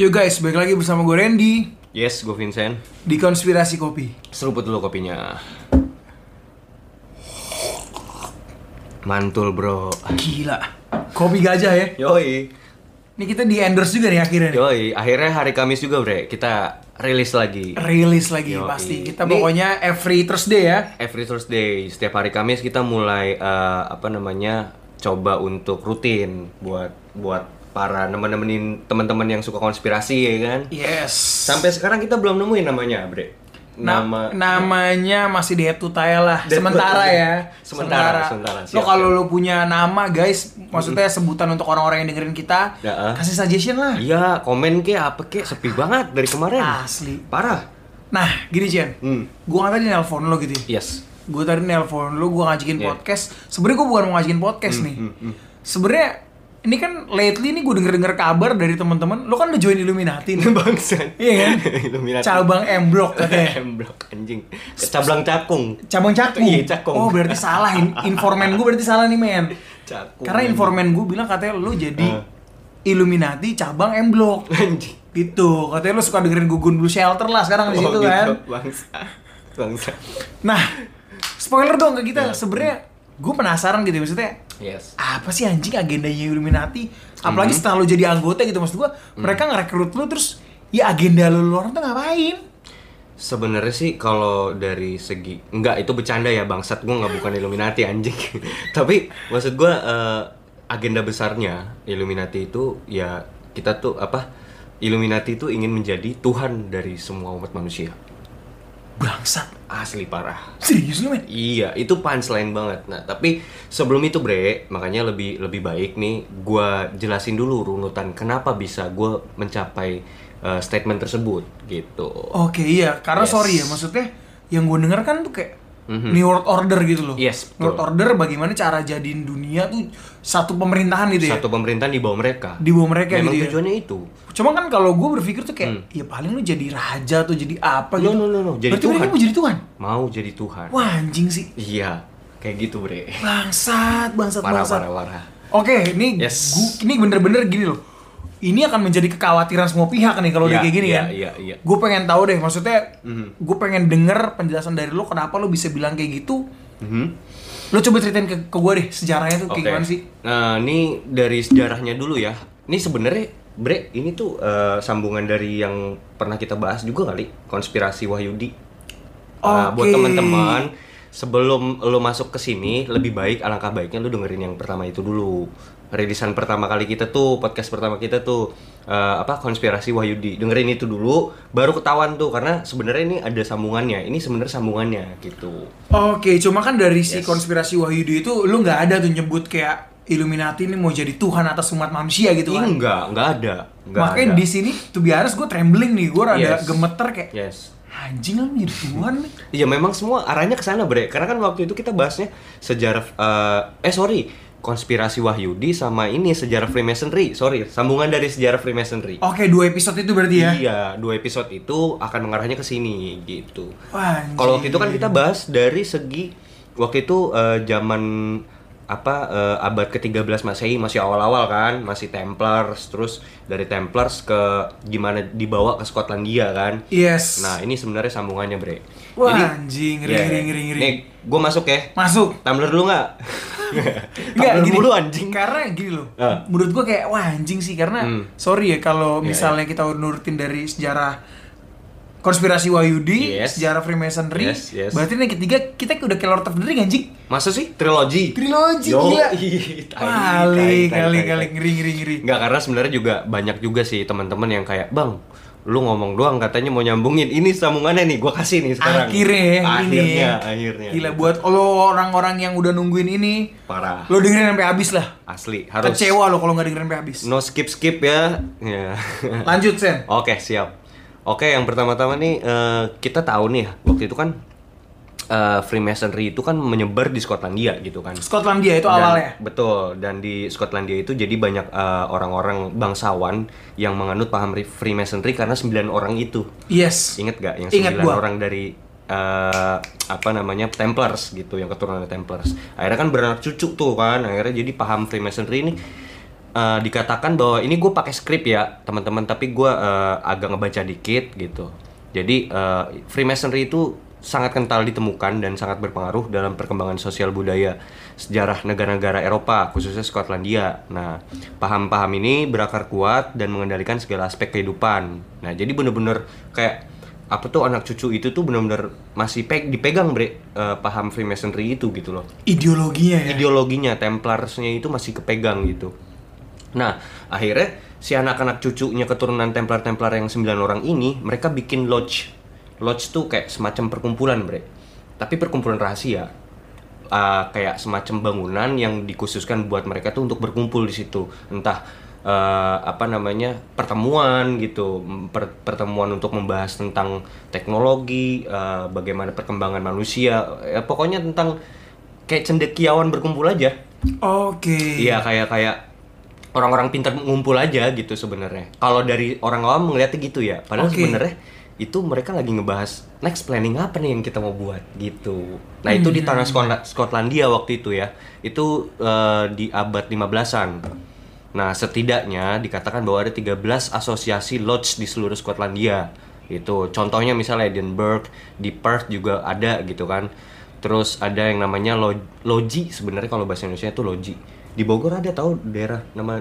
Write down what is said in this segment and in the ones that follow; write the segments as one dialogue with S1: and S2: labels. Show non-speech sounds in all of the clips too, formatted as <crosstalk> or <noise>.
S1: Yo guys, balik lagi bersama gue Randy
S2: Yes, gue Vincent.
S1: di Konspirasi Kopi.
S2: Seruput dulu kopinya. Mantul bro.
S1: Gila, kopi gajah ya.
S2: Yoi,
S1: Ini kita di endorse juga nih akhirnya. Nih.
S2: yoi. Akhirnya hari Kamis juga bre, kita rilis lagi.
S1: Rilis lagi
S2: Yoi.
S1: pasti. Kita
S2: Ini-
S1: pokoknya every Thursday ya.
S2: Every Thursday, setiap hari Kamis kita mulai eh, apa namanya coba untuk rutin buat buat para nemen-nemenin teman-teman yang suka konspirasi ya kan.
S1: Yes.
S2: Sampai sekarang kita belum nemuin namanya bre.
S1: Na-
S2: Nama
S1: namanya masih di head to tail lah
S2: Head to
S1: sementara
S2: tail.
S1: ya
S2: Sementara, sementara.
S1: lo
S2: Siap,
S1: kalau
S2: siap.
S1: lo punya nama guys maksudnya sebutan untuk orang-orang yang dengerin kita
S2: Ya, ah.
S1: kasih suggestion lah
S2: Iya, komen ke apa ke sepi banget dari kemarin.
S1: Asli.
S2: Parah.
S1: nah gini Jen
S2: Hmm.
S1: gue kan tadi nelpon lo gitu ya
S2: <laughs> Yes.
S1: gue tadi nelpon lu gue ngajakin
S2: Yeah.
S1: podcast sebenarnya gue bukan mau ngajakin podcast
S2: Hmm,
S1: nih sebenarnya ini kan lately ini gue denger denger kabar dari teman-teman lu kan udah join Illuminati
S2: <laughs>
S1: nih
S2: Bangsan.
S1: iya
S2: <laughs>
S1: kan
S2: Illuminati.
S1: cabang M Block
S2: <laughs>
S1: katanya
S2: M Block anjing. Cablang cakung.
S1: cabang cakung
S2: Iya, cakung.
S1: oh berarti salah In- informan gue berarti salah nih men
S2: Cakung.
S1: karena informan gue bilang katanya lu jadi
S2: Eh.
S1: Illuminati cabang M Block
S2: anjing.
S1: gitu katanya lu suka dengerin gugun blue shelter lah sekarang di
S2: Oh,
S1: situ
S2: gitu,
S1: kan
S2: Bangsa. Bangsa.
S1: nah spoiler dong ke
S2: Iya.
S1: kita sebenarnya gue penasaran gitu ya, maksudnya
S2: Yes.
S1: apa sih anjing agendanya Illuminati? Apalagi
S2: Mhm.
S1: setelah lo jadi anggota gitu maksud gua, mereka ngerekrut lo terus ya agenda lo lu orang tuh ngapain?
S2: Sebenarnya sih kalau dari segi enggak itu bercanda ya bangsat gua nggak bukan Illuminati anjing. <laughs> Tapi maksud gua eh, agenda besarnya Illuminati itu ya kita tuh apa Illuminati itu ingin menjadi Tuhan dari semua umat manusia.
S1: Bangsat.
S2: Asli parah.
S1: Serius lu, men?
S2: Iya, itu punchline banget. Nah, tapi sebelum itu Bre, makanya lebih lebih baik nih gua jelasin dulu runutan kenapa bisa gua mencapai eh, statement tersebut gitu.
S1: Oke, iya, karena
S2: Yes. Mhm.
S1: sorry ya, maksudnya yang gue denger kan tuh kayak New World Order gitu loh.
S2: Yes,
S1: New World
S2: betul.
S1: Order bagaimana cara jadiin dunia tuh satu pemerintahan gitu ya.
S2: Satu pemerintahan di bawah mereka.
S1: Di bawah mereka
S2: Memang
S1: gitu ya.
S2: tujuannya itu.
S1: Cuma kan kalau gue berpikir tuh kayak ya paling lu jadi raja atau jadi apa
S2: Hmm. No,
S1: gitu.
S2: no, no, no, jadi
S1: Berarti mereka
S2: Tuhan.
S1: mau jadi Tuhan.
S2: Mau jadi Tuhan.
S1: Wah, anjing sih.
S2: Iya, kayak gitu Bre.
S1: Bangsat, bangsat,
S2: Parah
S1: bangsat.
S2: parah parah.
S1: Oke, ini
S2: Yes.
S1: gu- ini bener-bener gini loh. Ini akan menjadi kekhawatiran semua pihak nih kalau udah
S2: Iya,
S1: kayak gini
S2: iya,
S1: kan.
S2: iya, Mhm. iya.
S1: Gue pengen tahu deh, maksudnya gue pengen denger penjelasan dari lo kenapa lo bisa bilang kayak gitu.
S2: Mhm.
S1: Lo coba ceritain ke, ke gue deh sejarahnya tuh
S2: Oke.
S1: kayak gimana sih?
S2: Nah, ini dari sejarahnya dulu ya. Ini sebenarnya Bre, ini tuh eh, sambungan dari yang pernah kita bahas juga kali, konspirasi Wahyudi. Nah, buat
S1: Oke.
S2: teman-teman, sebelum lo masuk ke sini, lebih baik alangkah baiknya lo dengerin yang pertama itu dulu. Rilisan pertama kali kita tuh, podcast pertama kita tuh eh, apa konspirasi Wahyudi. Dengerin itu dulu, baru ketahuan tuh karena sebenarnya ini ada sambungannya. Ini sebenarnya sambungannya gitu.
S1: Oke, cuma kan dari si
S2: Yes.
S1: konspirasi Wahyudi itu lo nggak ada tuh nyebut kayak Illuminati ini mau jadi Tuhan atas umat manusia gitu
S2: Ini
S1: kan.
S2: enggak, enggak ada. Enggak
S1: Makanya
S2: ada.
S1: di sini tuh biaris gue trembling nih, gue rada
S2: Yes. Iya.
S1: gemeter kayak
S2: Yes.
S1: anjing lo jadi Tuhan nih.
S2: Ya memang semua arahnya ke sana, Bre. Karena kan waktu itu kita bahasnya sejarah eh eh, sorry, konspirasi Wahyudi sama ini sejarah Freemasonry. Sorry, sambungan dari sejarah Freemasonry.
S1: Oke, dua episode itu berarti ya.
S2: Iya, dua episode itu akan mengarahnya ke sini gitu.
S1: Wah,
S2: Kalau waktu itu kan
S1: anjing.
S2: kita bahas dari segi waktu itu eh, zaman apa eh, abad ke-13 Masehi masih awal-awal kan, masih Templars, terus dari Templars ke gimana dibawa ke Skotlandia kan.
S1: Yes.
S2: Nah, ini sebenarnya sambungannya, Bre.
S1: Wah, anjing, ngeri,
S2: Iya.
S1: ngeri, ngeri, ngeri.
S2: Nih, gue masuk ya.
S1: Masuk.
S2: Tumbler dulu
S1: <laughs>
S2: nggak?
S1: Nggak,
S2: Tumbler dulu anjing.
S1: Karena gini loh.
S2: Eh.
S1: Menurut gua kayak wah anjing sih karena sorry ya kalau
S2: Iya,
S1: misalnya kita nurutin dari sejarah konspirasi Wahyudi,
S2: Yes.
S1: sejarah Freemasonry,
S2: Yes, yes.
S1: berarti yang ketiga kita udah kayak Lord of the Ring anjing.
S2: Masa sih trilogi?
S1: Trilogi
S2: Yo,
S1: gila.
S2: ih,
S1: Kali,
S2: tai, tai, tai,
S1: kali,
S2: tai,
S1: kali
S2: tai.
S1: ngeri, ngeri, ngeri.
S2: Nggak karena sebenarnya juga banyak juga sih teman-teman yang kayak, "Bang, lu ngomong doang katanya mau nyambungin. Ini sambungannya nih, gua kasih nih sekarang."
S1: Akhirnya, ya,
S2: akhirnya,
S1: ini.
S2: akhirnya.
S1: Gila buat lo orang-orang yang udah nungguin ini,
S2: parah.
S1: lo dengerin sampai habis lah.
S2: Asli, harus Nah.
S1: Kecewa lo kalau nggak dengerin sampai habis.
S2: No skip-skip ya. Ya. <laughs>
S1: Lanjut Sen.
S2: Oke siap. Oke yang pertama-tama nih eh, kita tahu nih waktu itu kan eh, Freemasonry itu kan menyebar di Skotlandia gitu kan.
S1: Skotlandia itu
S2: Dan-
S1: awalnya.
S2: Betul. Dan di Skotlandia itu jadi banyak eh, orang-orang bangsawan yang menganut paham re- Freemasonry karena sembilan orang itu.
S1: Yes.
S2: Ingat gak yang
S1: Ingat
S2: sembilan
S1: gua.
S2: orang dari eh, apa namanya Templars gitu yang keturunan Templars. Akhirnya kan beranak cucu tuh kan. Akhirnya jadi paham Freemasonry ini eh, dikatakan bahwa ini gue pakai skrip ya teman-teman tapi gue eh, agak ngebaca dikit gitu jadi eh, Freemasonry itu sangat kental ditemukan dan sangat berpengaruh dalam perkembangan sosial budaya sejarah negara-negara Eropa khususnya Skotlandia. Nah, paham-paham ini berakar kuat dan mengendalikan segala aspek kehidupan. Nah, jadi bener-bener kayak apa tuh anak cucu itu tuh bener-bener masih pe- dipegang bre eh, paham Freemasonry itu gitu loh
S1: Ideologinya ya.
S2: ideologinya Templarsnya itu masih kepegang gitu. Nah, akhirnya si anak-anak cucunya keturunan Templar-Templar yang 9 orang ini, mereka bikin lodge. Lodge tuh kayak semacam perkumpulan, Bre. Tapi perkumpulan rahasia. Ah, kayak semacam bangunan yang dikhususkan buat mereka tuh untuk berkumpul di situ. Entah eh, apa namanya? pertemuan gitu, Per- pertemuan untuk membahas tentang teknologi, eh, bagaimana perkembangan manusia, ya pokoknya tentang kayak cendekiawan berkumpul aja.
S1: Oke.
S2: Iya kayak kayak orang-orang pintar ngumpul aja gitu sebenarnya. Kalau dari orang awam melihatnya gitu ya. Padahal
S1: Oke.
S2: sebenarnya itu mereka lagi ngebahas next planning apa nih yang kita mau buat gitu. Nah itu di
S1: Hmm.
S2: tanah Skotla- Skotlandia waktu itu ya. Itu eh, di abad 15-an. Nah setidaknya dikatakan bahwa ada 13 asosiasi lodge di seluruh Skotlandia. Itu contohnya misalnya Edinburgh, di Perth juga ada gitu kan. Terus ada yang namanya lo- loji sebenarnya kalau bahasa Indonesia itu loji. Di Bogor ada tahu daerah nama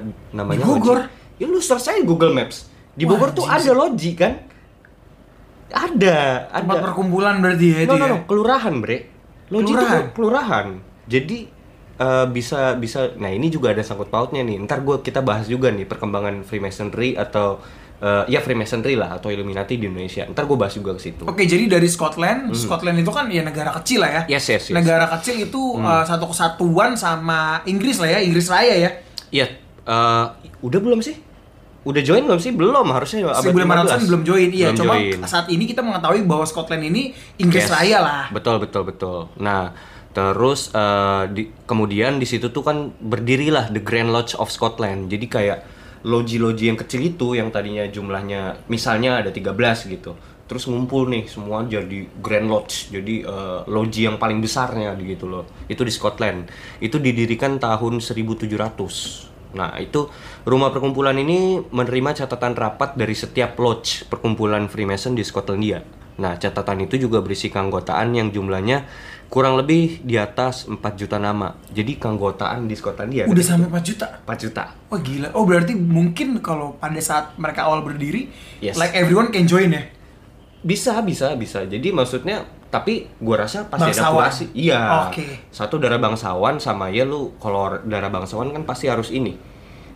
S1: Di
S2: namanya
S1: Bogor?
S2: Loji. Ya lu search aja Google Maps. Di Bogor tuh ada loji kan? Ada, ada.
S1: Tempat perkumpulan berarti ya itu
S2: No, no,
S1: ya?
S2: no, kelurahan, Bre. Loji itu
S1: Kelurahan?
S2: kelurahan. Jadi eh, bisa bisa nah ini juga ada sangkut pautnya nih. Ntar gua kita bahas juga nih perkembangan Freemasonry atau eh, ya Freemasonry lah atau Illuminati di Indonesia. Ntar gue bahas juga ke situ.
S1: Oke, jadi dari Scotland, Scotland itu kan ya negara kecil lah ya.
S2: Hmm. Yes, yes, Hmm. yes.
S1: Negara kecil itu eh, satu kesatuan sama Inggris lah ya, Inggris Raya ya.
S2: Iya, eh, udah belum sih? Udah join belum sih? Belum, harusnya abad
S1: 1500-an
S2: 15.
S1: belum join. Iya,
S2: Belum
S1: cuma
S2: join.
S1: saat ini kita mengetahui bahwa Scotland ini Inggris
S2: Yes.
S1: Raya lah.
S2: Betul betul betul. Nah, terus eh, di- kemudian di situ tuh kan berdirilah The Grand Lodge of Scotland. Jadi kayak loji-loji yang kecil itu yang tadinya jumlahnya misalnya ada 13 gitu. Terus ngumpul nih semua jadi Grand Lodge. Jadi eh, loji yang paling besarnya gitu loh. Itu di Scotland. Itu didirikan tahun 1700. Nah, itu rumah perkumpulan ini menerima catatan rapat dari setiap lodge perkumpulan Freemason di Skotlandia. Nah, catatan itu juga berisi keanggotaan yang jumlahnya kurang lebih di atas 4 juta nama. Jadi keanggotaan di Skotlandia
S1: Udah sampai 4 juta.
S2: 4 juta.
S1: Wah gila. Oh berarti mungkin kalau pada saat mereka awal berdiri,
S2: Yes.
S1: like everyone can join ya.
S2: Bisa, bisa, bisa. Jadi maksudnya tapi gua rasa pasti
S1: Bangsawan.
S2: ada kurasi. Iya.
S1: Oke.
S2: Satu darah bangsawan sama ya lu kalau darah bangsawan kan pasti harus ini.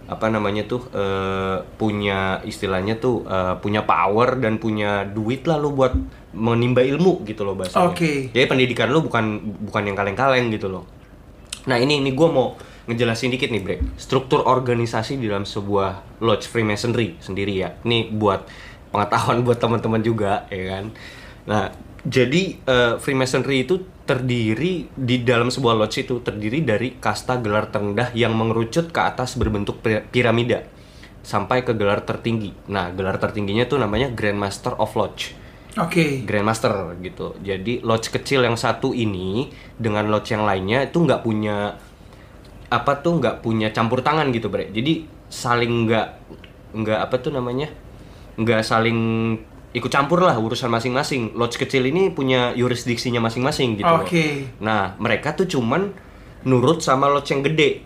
S2: Apa namanya tuh eh, punya istilahnya tuh eh, punya power dan punya duit lah lu buat menimba ilmu gitu loh bahasanya.
S1: Oke.
S2: Jadi pendidikan lu bukan bukan yang kaleng-kaleng gitu loh. Nah, ini ini gua mau ngejelasin dikit nih, Bre. Struktur organisasi di dalam sebuah lodge Freemasonry sendiri ya. Ini buat pengetahuan <laughs> buat teman-teman juga, ya kan. Nah, jadi eh, Freemasonry itu terdiri di dalam sebuah lodge itu terdiri dari kasta gelar terendah yang mengerucut ke atas berbentuk pir- piramida sampai ke gelar tertinggi. Nah, gelar tertingginya tuh namanya Grand Master of Lodge.
S1: Oke.
S2: Grandmaster gitu. Jadi lodge kecil yang satu ini dengan lodge yang lainnya itu nggak punya apa tuh nggak punya campur tangan gitu bre. Jadi saling nggak nggak apa tuh namanya nggak saling ikut campur lah urusan masing-masing. Lodge kecil ini punya yurisdiksinya masing-masing gitu. loh.
S1: Oke.
S2: Nah mereka tuh cuman nurut sama lodge yang gede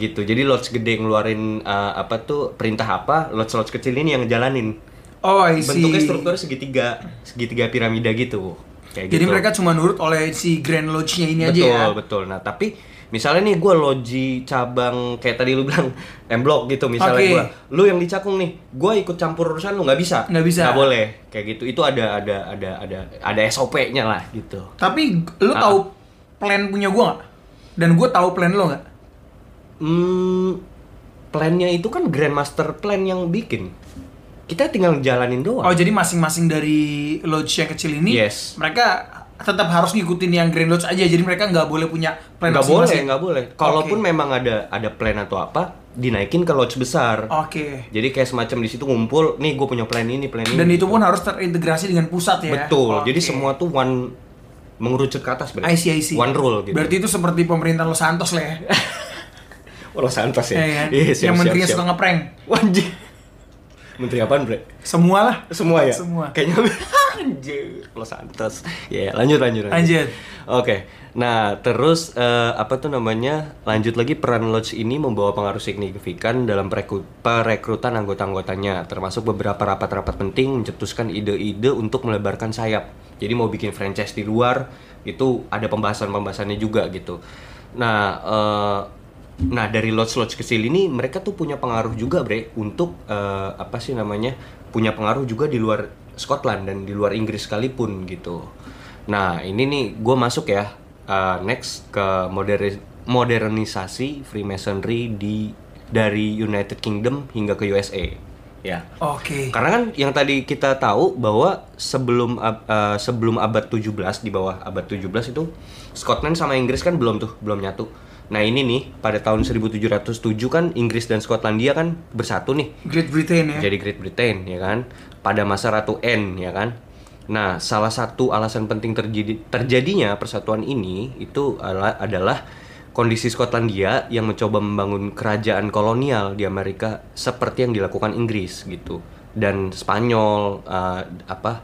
S2: gitu. Jadi lodge gede ngeluarin eh, apa tuh perintah apa, lodge-lodge kecil ini yang jalanin
S1: Oh I see.
S2: bentuknya strukturnya segitiga segitiga piramida gitu kayak
S1: Jadi
S2: gitu.
S1: mereka cuma nurut oleh si Grand Lodge-nya ini
S2: betul
S1: aja ya.
S2: betul nah tapi misalnya nih gue loji cabang kayak tadi lu bilang <laughs> M Block gitu misalnya
S1: Oke.
S2: gua lu yang dicakung nih gue ikut campur urusan lu nggak bisa
S1: Nggak bisa.
S2: nggak boleh kayak gitu itu ada ada ada ada ada SOP-nya lah gitu
S1: Tapi lu
S2: Ah.
S1: tahu plan punya gua nggak? Dan gua tahu plan lo nggak?
S2: hmm plannya itu kan grandmaster plan yang bikin kita tinggal jalanin doang
S1: Oh jadi masing-masing dari lodge yang kecil ini,
S2: Yes.
S1: mereka tetap harus ngikutin yang Grand Lodge aja. Jadi mereka nggak boleh punya plan
S2: nggak boleh
S1: masing-masing.
S2: nggak boleh kalaupun memang ada ada plan atau apa dinaikin ke lodge besar
S1: Oke.
S2: Jadi kayak semacam di situ ngumpul, nih gue punya plan ini, plan ini.
S1: Dan itu pun harus terintegrasi dengan pusat ya.
S2: Hmm. betul. Jadi
S1: Oke.
S2: semua tuh one mengerucut ke atas
S1: I
S2: berarti.
S1: see, I see.
S2: One rule gitu. <laughs>
S1: Berarti itu seperti pemerintahan Los Santos lah ya.
S2: Oh, Los Santos ya?
S1: Ya, kan?
S2: Iya, siap,
S1: yang
S2: siap,
S1: menterinya
S2: siap.
S1: suka ngeprank.
S2: Wah, anjing. Menteri apaan, Bre?
S1: Semua lah.
S2: Semua ya?
S1: Semua.
S2: Kayaknya <laughs> anjir, Los Santos. Ya, lanjut lanjut
S1: Lanjut.
S2: Oke. Nah, terus eh, apa tuh namanya? Lanjut lagi peran Lodge ini membawa pengaruh signifikan dalam pereku- perekrutan anggota-anggotanya, termasuk beberapa rapat-rapat penting mencetuskan ide-ide untuk melebarkan sayap. Jadi mau bikin franchise di luar itu ada pembahasan-pembahasannya juga gitu. Nah, eh, nah dari Lodge-Lodge kecil ini mereka tuh punya pengaruh juga, Bre, untuk eh, apa sih namanya? punya pengaruh juga di luar Scotland dan di luar Inggris sekalipun gitu. Nah, ini nih gue masuk ya uh, next ke moderi- modernisasi Freemasonry di dari United Kingdom hingga ke USA. Ya.
S1: Oke.
S2: Karena kan yang tadi kita tahu bahwa sebelum ab- eh, sebelum abad 17 di bawah abad 17 itu Scotland sama Inggris kan belum tuh, belum nyatu. Nah, ini nih pada tahun 1707 kan Inggris dan Skotlandia kan bersatu nih
S1: Great Britain ya.
S2: jadi Great Britain ya kan pada masa Ratu Anne ya kan nah salah satu alasan penting terjadi terjadinya persatuan ini itu ala- adalah kondisi Skotlandia yang mencoba membangun kerajaan kolonial di Amerika seperti yang dilakukan Inggris gitu dan Spanyol eh, apa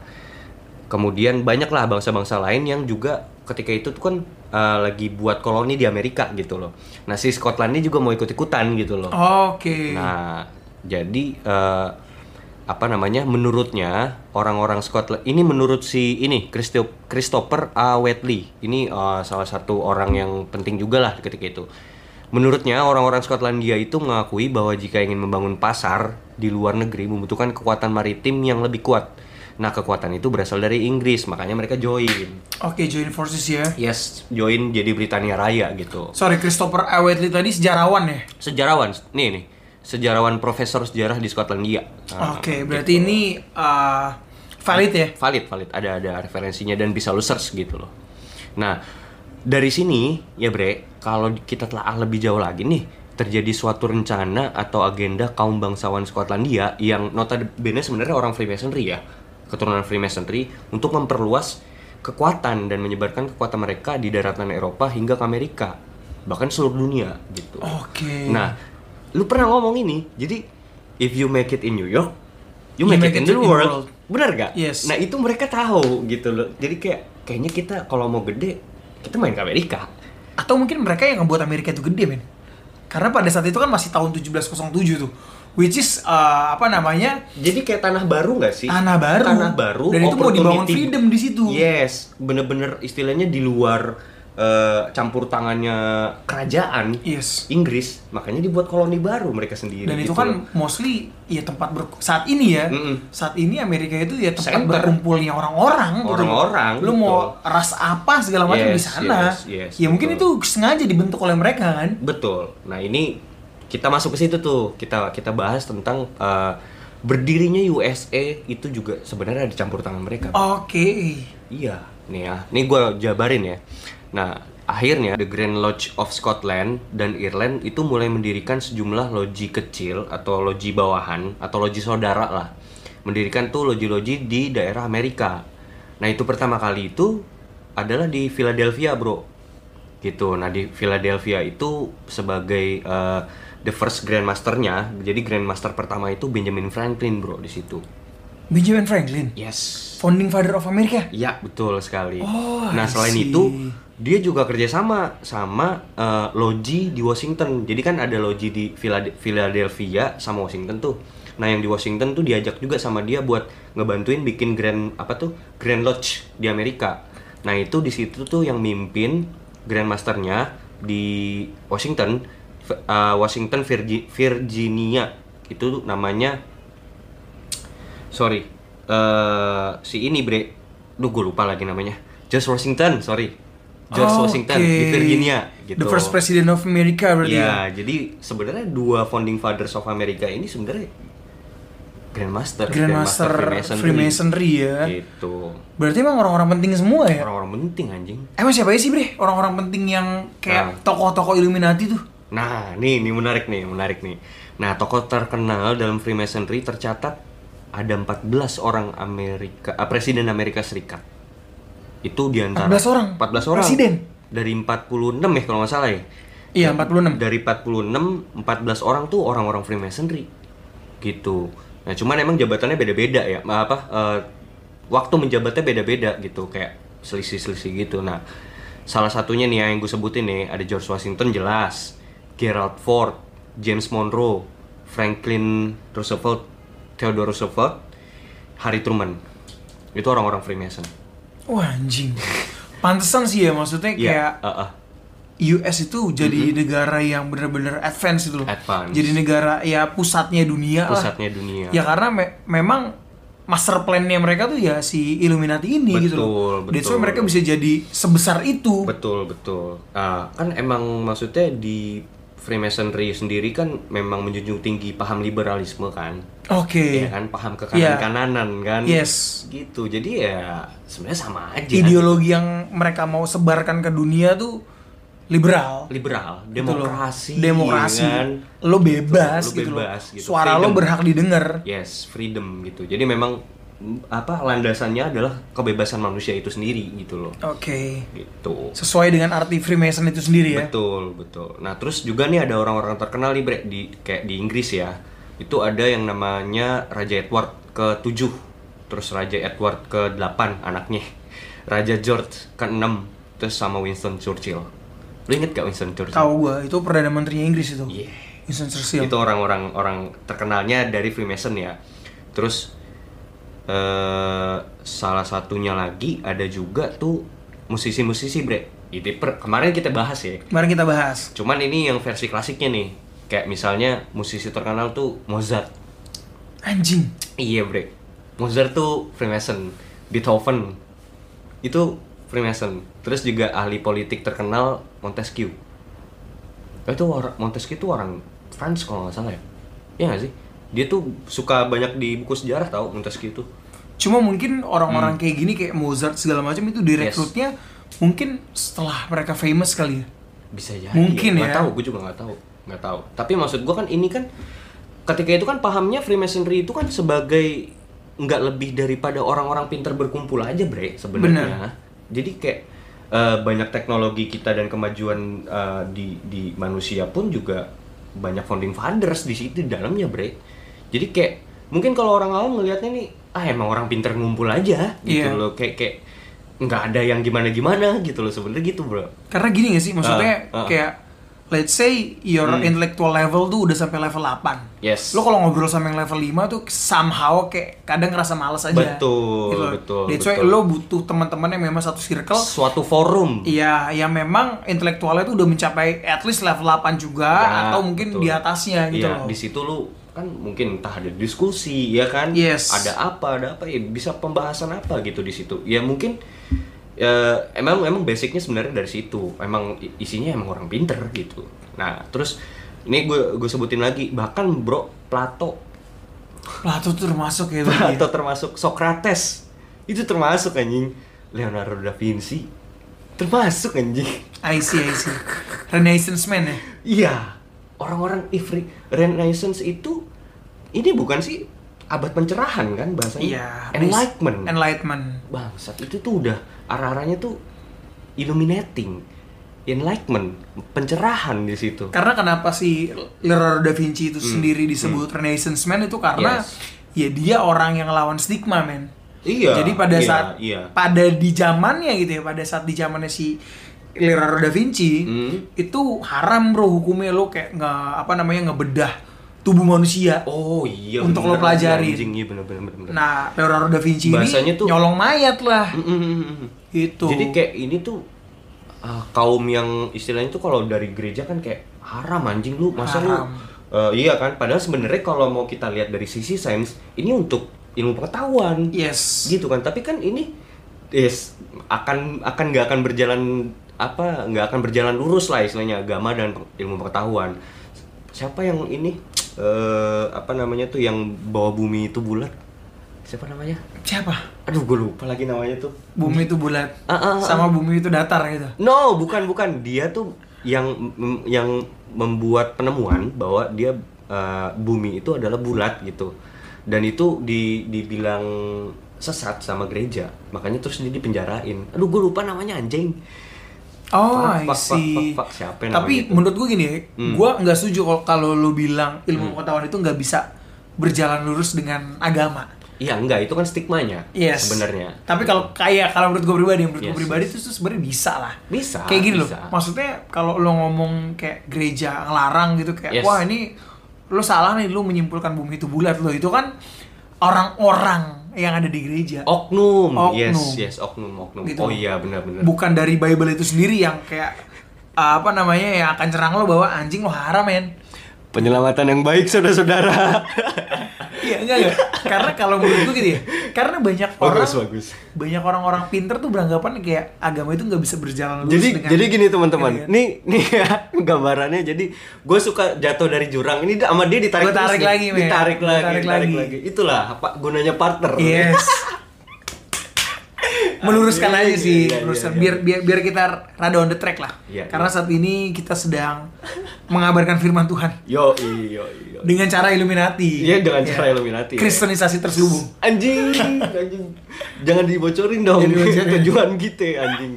S2: kemudian banyaklah bangsa-bangsa lain yang juga ketika itu tuh kan eh, lagi buat koloni di Amerika gitu loh nah si Skotlandia juga mau ikut-ikutan gitu loh
S1: Oke.
S2: Nah, jadi eh, apa namanya? Menurutnya orang-orang Scotland ini menurut si ini Christo- Christopher A. Whitley. Ini eh, salah satu orang yang penting juga lah ketika itu. Menurutnya orang-orang Skotlandia itu mengakui bahwa jika ingin membangun pasar di luar negeri membutuhkan kekuatan maritim yang lebih kuat. Nah, kekuatan itu berasal dari Inggris, makanya mereka join.
S1: Oke, join forces ya.
S2: Yes, join jadi Britania Raya gitu
S1: Sorry, Christopher A. Whiteley tadi sejarawan ya?
S2: sejarawan nih nih sejarawan profesor sejarah di Skotlandia Nah,
S1: Oke, berarti ini uh, valid ya?
S2: valid valid ada ada referensinya dan bisa lu search gitu loh nah dari sini ya bre kalau kita telah ah, lebih jauh lagi nih terjadi suatu rencana atau agenda kaum bangsawan Skotlandia yang notabene sebenarnya orang Freemasonry ya keturunan Freemasonry untuk memperluas kekuatan dan menyebarkan kekuatan mereka di daratan Eropa hingga ke Amerika bahkan seluruh dunia gitu
S1: Oh, Oke.
S2: Nah, lu pernah ngomong ini. Jadi, if you make it in New York, you make, it, in the world. Bener gak?
S1: Yes.
S2: Nah, itu mereka tahu gitu loh. Jadi kayak kayaknya kita kalau mau gede, kita main ke Amerika.
S1: Atau mungkin mereka yang ngebuat Amerika itu gede, men. Karena pada saat itu kan masih tahun 1707 tuh. Which is, uh, apa namanya,
S2: Jadi kayak tanah baru gak sih?
S1: Tanah baru.
S2: Tanah baru.
S1: Dan itu mau
S2: opportunity.
S1: dibangun freedom di situ.
S2: Yes, bener-bener istilahnya di luar eh, campur tangannya kerajaan
S1: yes.
S2: Inggris, makanya dibuat koloni baru mereka sendiri.
S1: Iya. Dan itu
S2: gitu loh.
S1: kan mostly ya tempat ber saat ini ya.
S2: Mm-mm.
S1: Saat ini Amerika itu ya tempat
S2: Center.
S1: berkumpulnya orang-orang gitu loh.
S2: Orang-orang,
S1: Lu mau ras apa segala macam di
S2: Yes,
S1: sana.
S2: yes, yes,
S1: ya mungkin
S2: betul.
S1: itu sengaja dibentuk oleh mereka kan.
S2: Betul. Nah, ini kita masuk ke situ tuh. Kita kita bahas tentang eh, berdirinya USA itu juga sebenarnya ada campur tangan mereka.
S1: Oke.
S2: Iya, nih ya. Nih gue jabarin ya. Nah, akhirnya The Grand Lodge of Scotland dan Ireland itu mulai mendirikan sejumlah loji kecil atau loji bawahan atau loji saudara lah. Mendirikan tuh loji-loji di daerah Amerika. Nah, itu pertama kali itu adalah di Philadelphia, Bro. Gitu. Nah, di Philadelphia itu sebagai eh, the first grandmasternya, jadi grandmaster pertama itu Benjamin Franklin, Bro, di situ.
S1: Benjamin Franklin.
S2: Yes.
S1: Founding Father of America.
S2: Ya, betul sekali.
S1: Iya, Oh,
S2: nah,
S1: I
S2: selain
S1: see.
S2: itu dia juga kerjasama sama eh, loji di Washington. Jadi kan ada loji di Philade- Philadelphia sama Washington tuh. Nah, yang di Washington tuh diajak juga sama dia buat ngebantuin bikin Grand apa tuh Grand Lodge di Amerika. Nah, itu di situ tuh yang mimpin Grandmasternya di Washington, F- eh, Washington Virgi- Virginia itu namanya sorry eh si ini bre lu gue lupa lagi namanya George Washington sorry George
S1: Oh,
S2: Washington
S1: oke.
S2: di Virginia gitu
S1: The first president of America berarti. ya?
S2: ya jadi sebenarnya dua founding fathers of America ini sebenarnya grandmaster
S1: Grandmaster Freemasonry ya.
S2: gitu
S1: Berarti emang orang-orang penting semua ya?
S2: orang-orang penting anjing
S1: Emang siapa aja sih bre? Orang-orang penting yang kayak tokoh-tokoh Illuminati tuh.
S2: Nah, nih, nih menarik nih, menarik nih. Nah, tokoh terkenal dalam Freemasonry tercatat ada 14 orang Amerika, eh, presiden Amerika Serikat. Itu di antara
S1: 14 orang?
S2: 14 orang.
S1: Presiden?
S2: Dari 46 ya kalau nggak salah ya.
S1: Iya, 46.
S2: Dari 46, 14 orang tuh orang-orang Freemasonry. Gitu. Nah, cuman emang jabatannya beda-beda ya. Ma- Apa eh, waktu menjabatnya beda-beda gitu, kayak selisih-selisih gitu. Nah, salah satunya nih yang gue sebutin nih, ada George Washington jelas, Gerald Ford, James Monroe, Franklin Roosevelt, Theodore Roosevelt, Harry Truman. Itu orang-orang Freemason.
S1: Wah
S2: <laughs>
S1: anjing. Pantesan sih ya maksudnya
S2: Iya,
S1: kayak
S2: eh, eh.
S1: US itu jadi negara yang bener-bener advance itu loh.
S2: Advance.
S1: Jadi negara ya pusatnya dunia
S2: pusatnya
S1: lah.
S2: dunia.
S1: Ya karena me- memang master plan-nya mereka tuh ya si Illuminati ini gitu loh.
S2: Betul,
S1: That's why
S2: betul.
S1: mereka bisa jadi sebesar itu.
S2: Betul, betul. Ah, kan emang maksudnya di Freemasonry sendiri kan memang menjunjung tinggi paham liberalisme kan.
S1: Oke.
S2: Ya kan paham
S1: Iya.
S2: kekanan-kananan kan.
S1: Yes.
S2: Gitu. Jadi ya sebenarnya sama aja. kan?
S1: Ideologi yang mereka mau sebarkan ke dunia tuh liberal.
S2: liberal,
S1: Gitu loh.
S2: demokrasi,
S1: Demokrasi.
S2: kan?
S1: Lo bebas
S2: Lo
S1: gitu, loh.
S2: bebas gitu.
S1: Suara lo
S2: Freedom.
S1: berhak didengar.
S2: Yes, freedom gitu. Jadi memang mm, apa landasannya adalah kebebasan manusia itu sendiri gitu loh.
S1: Oke.
S2: Gitu.
S1: Sesuai dengan arti Freemason itu sendiri ya.
S2: Betul, betul. Nah, terus juga nih ada orang-orang terkenal nih, Bre, di kayak di Inggris ya. Itu ada yang namanya Raja Edward ke-7, terus Raja Edward ke-8 anaknya. Raja George ke-6, terus sama Winston Churchill. Lu inget gak Winston Churchill?
S1: Tahu gua, itu perdana menterinya Inggris itu.
S2: Iya.
S1: Winston Churchill.
S2: Itu orang-orang orang terkenalnya dari Freemason ya. Terus eh salah satunya lagi ada juga tuh musisi-musisi, Bre. Itu per- kemarin kita bahas ya.
S1: Kemarin kita bahas.
S2: Cuman ini yang versi klasiknya nih. Kayak misalnya musisi terkenal tuh Mozart.
S1: Anjing.
S2: Iya, Bre. Mozart tuh Freemason, Beethoven itu Freemason. Terus juga ahli politik terkenal Montesquieu. Eh, Itu orang Montesquieu tuh orang France kalau nggak salah ya. Iya nggak sih? Dia tuh suka banyak di buku sejarah tau Montesquieu tuh.
S1: Cuma mungkin
S2: Hmm.
S1: orang-orang kayak gini kayak Mozart segala macam itu direkrutnya mungkin setelah mereka famous kali ya.
S2: bisa jadi
S1: Mungkin
S2: nggak
S1: ya.
S2: tahu gue juga nggak tahu nggak tahu tapi maksud gue kan ini kan ketika itu kan pahamnya Freemasonry itu kan sebagai nggak lebih daripada orang-orang pinter berkumpul aja bre
S1: Benar.
S2: sebenarnya jadi kayak eh, banyak teknologi kita dan kemajuan eh, di di manusia pun juga banyak founding fathers di situ di dalamnya bre jadi kayak mungkin kalau orang awam ngelihatnya nih ah emang orang pinter ngumpul aja gitu
S1: Iya.
S2: loh kayak kayak nggak ada yang gimana gimana gitu loh sebenarnya gitu bro
S1: Karena gini gak sih maksudnya
S2: Ah, ah.
S1: kayak let's say your intellectual level tuh udah sampai level 8.
S2: Yes.
S1: Lo kalau ngobrol sama yang level 5 tuh somehow kayak kadang ngerasa males aja. Gitu
S2: Betul,
S1: loh.
S2: betul,
S1: That's why
S2: betul.
S1: lo butuh teman-teman yang memang satu circle
S2: suatu forum
S1: Iya, yang memang intelektualnya itu udah mencapai at least level 8 juga
S2: Ya,
S1: atau mungkin
S2: betul.
S1: di atasnya gitu loh.
S2: Iya, di situ lu kan mungkin entah ada diskusi ya kan
S1: Yes.
S2: ada apa ada apa ya bisa pembahasan apa gitu di situ ya mungkin ya, emang emang basicnya sebenarnya dari situ emang i- isinya emang orang pinter gitu nah terus ini gue gue sebutin lagi bahkan bro Plato
S1: <laughs> Plato tuh termasuk ya tadi.
S2: Plato termasuk Socrates itu termasuk anjing Leonardo da Vinci termasuk anjing
S1: I see, I see. Renaissance man ya.
S2: Iya, orang-orang Ifri Renaissance itu ini bukan sih abad pencerahan kan bahasanya?
S1: Iya.
S2: Enlightenment.
S1: Enlightenment.
S2: Bangsat itu tuh udah arah-arahnya tuh illuminating, enlightenment, pencerahan di situ.
S1: Karena kenapa si Leonardo da Vinci itu sendiri disebut Renaissance man itu karena
S2: Hmm. Yes.
S1: ya dia orang yang lawan stigma, men.
S2: Iya.
S1: Jadi pada
S2: iya,
S1: saat
S2: iya.
S1: pada di zamannya gitu ya, pada saat di zamannya si Leonardo da Vinci
S2: Hmm.
S1: itu haram bro hukumnya lo kayak nggak apa namanya ngebedah tubuh manusia.
S2: Oh iya.
S1: Untuk lo
S2: bener,
S1: pelajarin.
S2: Anjing iya bener-bener. bener.
S1: Nah, Leonardo da Vinci
S2: Bahasanya
S1: ini
S2: tuh-
S1: nyolong mayat lah.
S2: Mm, mm, mm, mm.
S1: Gitu.
S2: Jadi kayak ini tuh ah, kaum yang istilahnya tuh kalau dari gereja kan kayak haram anjing lu, masa lu
S1: Haram.
S2: Eh, iya kan? Padahal sebenarnya kalau mau kita lihat dari sisi sains, ini untuk ilmu pengetahuan.
S1: yes.
S2: Gitu kan. Tapi kan ini yes, akan akan nggak akan berjalan apa? nggak akan berjalan lurus lah istilahnya agama dan peng- ilmu pengetahuan. Siapa yang ini eh apa namanya tuh yang bawa bumi itu bulat? Siapa namanya?
S1: Siapa?
S2: Aduh, gue lupa lagi namanya tuh.
S1: Bumi itu bulat.
S2: Ah, ah, ah.
S1: Sama bumi itu datar gitu.
S2: No, bukan bukan. Dia tuh yang mem- yang membuat penemuan bahwa dia eh, bumi itu adalah bulat gitu. Dan itu di dibilang sesat sama gereja. Makanya terus dia dipenjarain. Aduh, gue lupa namanya anjing.
S1: Oh, I
S2: Fuck, fuck, fuck,
S1: see.
S2: fuck, fuck. Siapa yang
S1: Tapi
S2: namanya itu? Hmm.
S1: menurut gue gini, ya, gue nggak setuju kalau- kalau lu bilang ilmu pengetahuan itu nggak bisa berjalan lurus dengan agama.
S2: Iya enggak, itu kan stigmanya
S1: Yes.
S2: sebenarnya.
S1: Tapi kalau kayak kalau menurut gue pribadi, menurut gue
S2: Yes,
S1: pribadi
S2: yes.
S1: itu tuh sebenarnya bisa lah.
S2: Bisa,
S1: Kayak gini loh.
S2: bisa.
S1: Maksudnya kalau lo ngomong kayak gereja ngelarang gitu kayak
S2: Yes.
S1: wah ini lo salah nih lo menyimpulkan bumi itu bulat lo itu kan orang-orang yang ada di gereja.
S2: oknum.
S1: Oknum.
S2: yes yes oknum oknum.
S1: Gitu.
S2: Oh iya benar-benar.
S1: Bukan dari Bible itu sendiri yang kayak ah, apa namanya yang akan cerang lo bahwa anjing lo haram men.
S2: Penyelamatan yang baik saudara-saudara.
S1: <laughs> Iya enggak enggak. Karena kalau menurut gue gitu ya. Karena banyak orang
S2: bagus bagus.
S1: banyak orang-orang pinter tuh beranggapan kayak agama itu nggak bisa berjalan lurus
S2: Jadi
S1: dengan
S2: jadi gini teman-teman.
S1: Gitu kan.
S2: Nih <laughs> nih ya, gambarannya jadi gue suka jatuh dari jurang ini sama dia
S1: Gua
S2: ditarik
S1: tarik
S2: terus nih.
S1: lagi, men.
S2: ditarik
S1: Gua
S2: lagi,
S1: tarik
S2: ditarik lagi.
S1: lagi.
S2: Itulah apa gunanya partner.
S1: Yes. meluruskan
S2: Iya,
S1: aja
S2: iya,
S1: sih,
S2: iya,
S1: meluruskan
S2: iya, iya.
S1: biar biar biar kita rada on the track lah.
S2: Iya,
S1: Karena saat ini kita sedang mengabarkan firman Tuhan
S2: <laughs> Yo yo yo.
S1: dengan cara Illuminati.
S2: Iya, dengan
S1: Iya.
S2: cara Illuminati, ya.
S1: Kristenisasi terselubung.
S2: Anjing, anjing. Jangan dibocorin dong
S1: Jangan
S2: <laughs>
S1: dibocorin.
S2: tujuan kita anjing.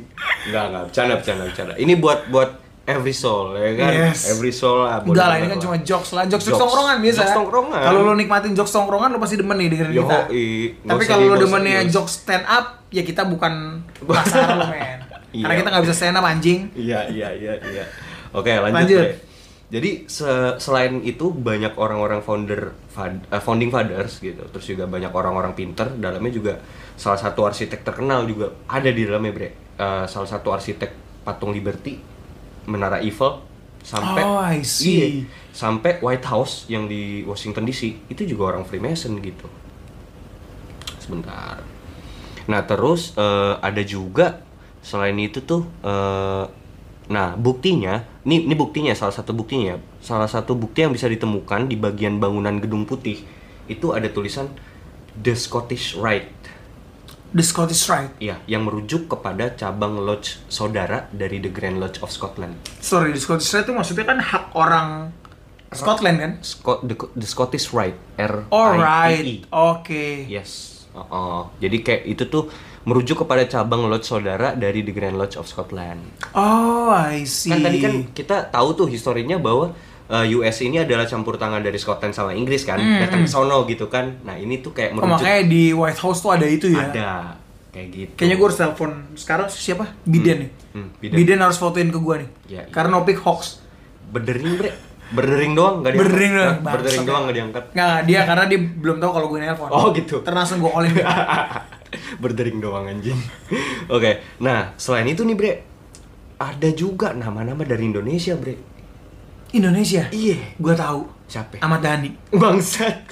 S2: Enggak, enggak, bercanda, bercanda, bercanda. Ini buat buat every soul ya kan?
S1: Yes.
S2: Every soul lah.
S1: Enggak lah, ini kan cuma jokes lah, jokes, jokes
S2: Jokes.
S1: tongkrongan biasa. ya.
S2: Jokes tongkrongan.
S1: Kalau lo nikmatin jokes tongkrongan lo pasti demen nih dengerin
S2: Yo,
S1: kita.
S2: i, nggak
S1: Tapi
S2: usah
S1: kalau
S2: di-
S1: lo
S2: nggak usah
S1: demennya
S2: di-
S1: jokes stand up, ya kita
S2: <laughs>
S1: bukan pasar lo men. Karena
S2: Iya.
S1: kita nggak bisa stand up anjing.
S2: Iya, iya, iya, iya. Oke, lanjut.
S1: Lanjut.
S2: Bre. Jadi se- selain itu banyak orang-orang founder fad- eh, founding fathers gitu, terus juga banyak orang-orang pinter dalamnya juga salah satu arsitek terkenal juga ada di dalamnya bre. Eh, salah satu arsitek patung Liberty, Menara Eiffel, sampai
S1: Oh, I see.
S2: Iya, sampai White House yang di Washington DC itu juga orang Freemason gitu. Sebentar. Nah terus eh, ada juga selain itu tuh, eh, nah buktinya, ini ini buktinya salah satu buktinya, salah satu bukti yang bisa ditemukan di bagian bangunan gedung putih itu ada tulisan The Scottish Rite,
S1: The Scottish Rite.
S2: ya, yang merujuk kepada cabang lodge saudara dari The Grand Lodge of Scotland.
S1: Sorry, the Scottish Rite itu maksudnya kan hak orang Scotland kan?
S2: Sco- the, the Scottish Rite, R
S1: Oh,
S2: E.
S1: Alright, oke.
S2: Yes. Oh, jadi kayak itu tuh merujuk kepada cabang lodge saudara dari The Grand Lodge of Scotland.
S1: Oh, I see.
S2: kan tadi kan kita tahu tuh historinya bahwa uh, US ini adalah campur tangan dari Scotland sama Inggris kan datang ke sono gitu kan nah ini tuh kayak
S1: Hmm, Oh,
S2: merujuk
S1: makanya di White House tuh ada itu ya.
S2: ada kayak gitu
S1: Kayaknya gue harus telepon sekarang siapa? Biden nih.
S2: Hmm,
S1: Biden.
S2: Biden.
S1: harus fotoin ke gue nih.
S2: Ya, iya.
S1: Karena Opik hoax.
S2: berdering bre berdering doang nggak diangkat
S1: Berdering doang,
S2: Nah, berdering
S1: bangsat. ya.
S2: doang nggak diangkat
S1: Nggak, dia karena dia belum tahu kalau gue nelpon.
S2: Oh, gitu.
S1: Terus langsung gue callin.
S2: <laughs>
S1: dia.
S2: berdering doang anjing oke nah selain itu nih bre ada juga nama-nama dari Indonesia bre
S1: Indonesia.
S2: iya
S1: Gue tahu.
S2: siapa
S1: Ahmad Dhani.
S2: bangsat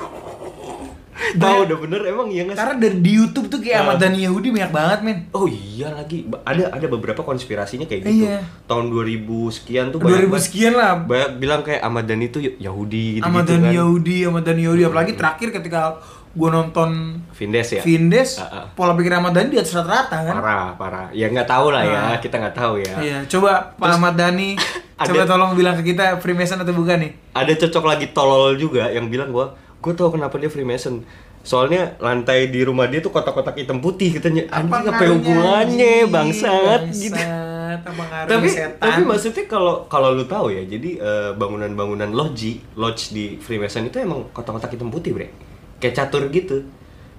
S2: tahu udah bener emang iya nggak sih?
S1: Karena dari di YouTube tuh
S2: Nah.
S1: kayak Ahmad Dhani Yahudi banyak banget, men.
S2: Oh iya lagi Ba- ada ada beberapa konspirasinya kayak gitu.
S1: Iya.
S2: Tahun 2000 sekian tuh
S1: 2000
S2: banget-
S1: sekian lah.
S2: banyak bilang kayak Ahmad Dhani tuh Yahudi gitu,
S1: Ahmad
S2: gitu
S1: Dhani
S2: kan.
S1: Yahudi, Ahmad Dhani Yahudi. Apalagi terakhir ketika gue nonton
S2: Vindes ya.
S1: Vindes,
S2: Ah, ah.
S1: pola pikir Ahmad Dhani di atas rata-rata kan?
S2: Parah, parah. Ya nggak tahu lah ya,
S1: Ah.
S2: kita nggak tahu ya.
S1: Iya, coba Pak Ahmad Dhani,
S2: <laughs> Ada-
S1: coba tolong bilang ke kita Freemason atau bukan nih?
S2: Ada cocok lagi tolol juga yang bilang gua, gua tahu kenapa dia Freemason. Soalnya lantai di rumah dia tuh kotak-kotak hitam putih katanya. Anjing apa
S1: ngaruhnya,
S2: hubungannya
S1: anjing?
S2: bangsat gitu.
S1: Bangsat, apa ngaruhnya
S2: tapi
S1: setan?
S2: tapi maksudnya kalau kalau lu tahu ya jadi eh, bangunan-bangunan loji lodge di Freemason itu emang kotak-kotak hitam putih bre kayak catur gitu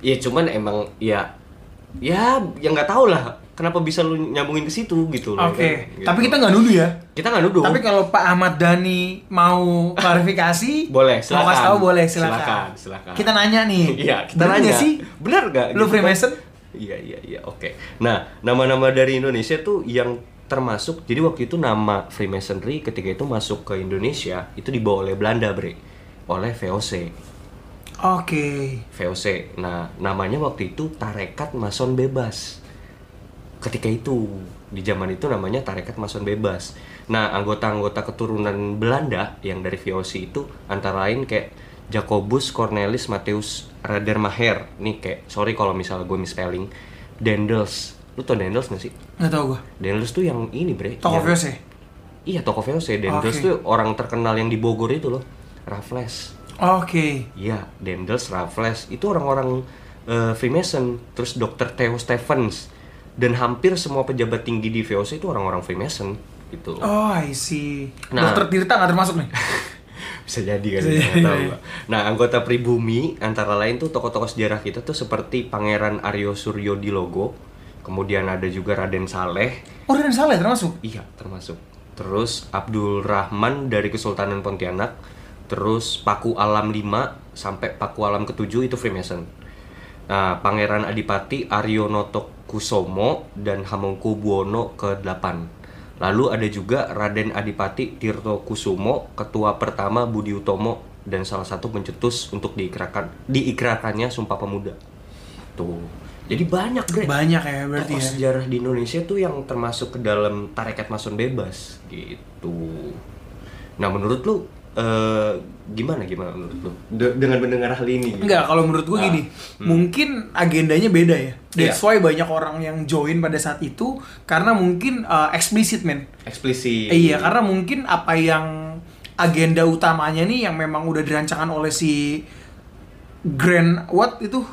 S2: ya cuman emang ya ya ya nggak tahu lah kenapa bisa lu nyambungin ke situ gitu
S1: Oke,
S2: loh Gitu.
S1: tapi kita nggak nuduh ya.
S2: kita nggak nuduh
S1: Tapi kalau Pak Ahmad Dhani <laughs> mau klarifikasi, Mau
S2: Boleh, silakan.
S1: kasih tahu boleh, silakan.
S2: Silakan, silakan.
S1: Kita nanya nih.
S2: <laughs> Iya, kita
S1: Bener
S2: nanya
S1: nggak sih?
S2: Benar nggak? gitu kan?
S1: Lu Freemason?
S2: Iya, iya, iya. Oke. Nah, nama-nama dari Indonesia tuh yang termasuk. Jadi waktu itu nama Freemasonry ketika itu masuk ke Indonesia itu dibawa oleh Belanda, Bre. Oleh VOC.
S1: Oke.
S2: VOC. Nah, namanya waktu itu Tarekat Mason Bebas. Ketika itu di zaman itu namanya Tarekat Mason Bebas. Nah, anggota-anggota keturunan Belanda yang dari VOC itu antara lain kayak Jacobus Cornelis Matthäus Radermacher. Nih kayak sorry kalau misalnya gue misspelling. Dendels. Lu tau Dendels gak sih?
S1: Nggak tahu gua.
S2: Dendels tuh yang ini bre.
S1: Tokoh
S2: yang-
S1: VOC.
S2: Iya toko VOC. Dendels
S1: Oke.
S2: tuh orang terkenal yang di Bogor itu loh. Raffles.
S1: Oke.
S2: Iya, Dendels, Raffles itu orang-orang eh, Freemason, terus Dr. Theo Stevens, dan hampir semua pejabat tinggi di VOC itu orang-orang Freemason gitu.
S1: Oh, I see.
S2: Nah.
S1: Dokter Tirta nggak termasuk
S2: <laughs>
S1: nih?
S2: bisa jadi kan
S1: Bisa
S2: nggak
S1: jadi,
S2: tahu
S1: iya.
S2: Mbak. nah anggota pribumi antara lain tuh tokoh-tokoh sejarah kita tuh seperti Pangeran Aryo Suryo di Logo kemudian ada juga Raden Saleh
S1: Oh, Raden Saleh termasuk?
S2: iya termasuk terus Abdul Rahman dari Kesultanan Pontianak terus Paku Alam 5 sampai Paku Alam ke-7 itu Freemason nah Pangeran Adipati Aryo Noto Kusomo dan Hamengkubuwono ke-8 Lalu ada juga Raden Adipati Tirto Kusumo, ketua pertama Budi Utomo dan salah satu pencetus untuk diikrarkan diikrarkannya Sumpah Pemuda. Tuh. Jadi banyak, Bre
S1: Banyak ya berarti
S2: tokoh
S1: ya.
S2: sejarah di Indonesia tuh yang termasuk ke dalam tarekat mason bebas gitu. Nah menurut lu eh, gimana gimana menurut lu De- dengan mendengar hal ini? gitu?
S1: Enggak, kalau menurut gue
S2: Ah,
S1: gini, mungkin agendanya beda ya. That's
S2: Iya.
S1: why banyak orang yang join pada saat itu karena mungkin uh, eksplisit men.
S2: eksplisit.
S1: Eh, iya, karena mungkin apa yang agenda utamanya nih yang memang udah dirancangkan oleh si Grand what itu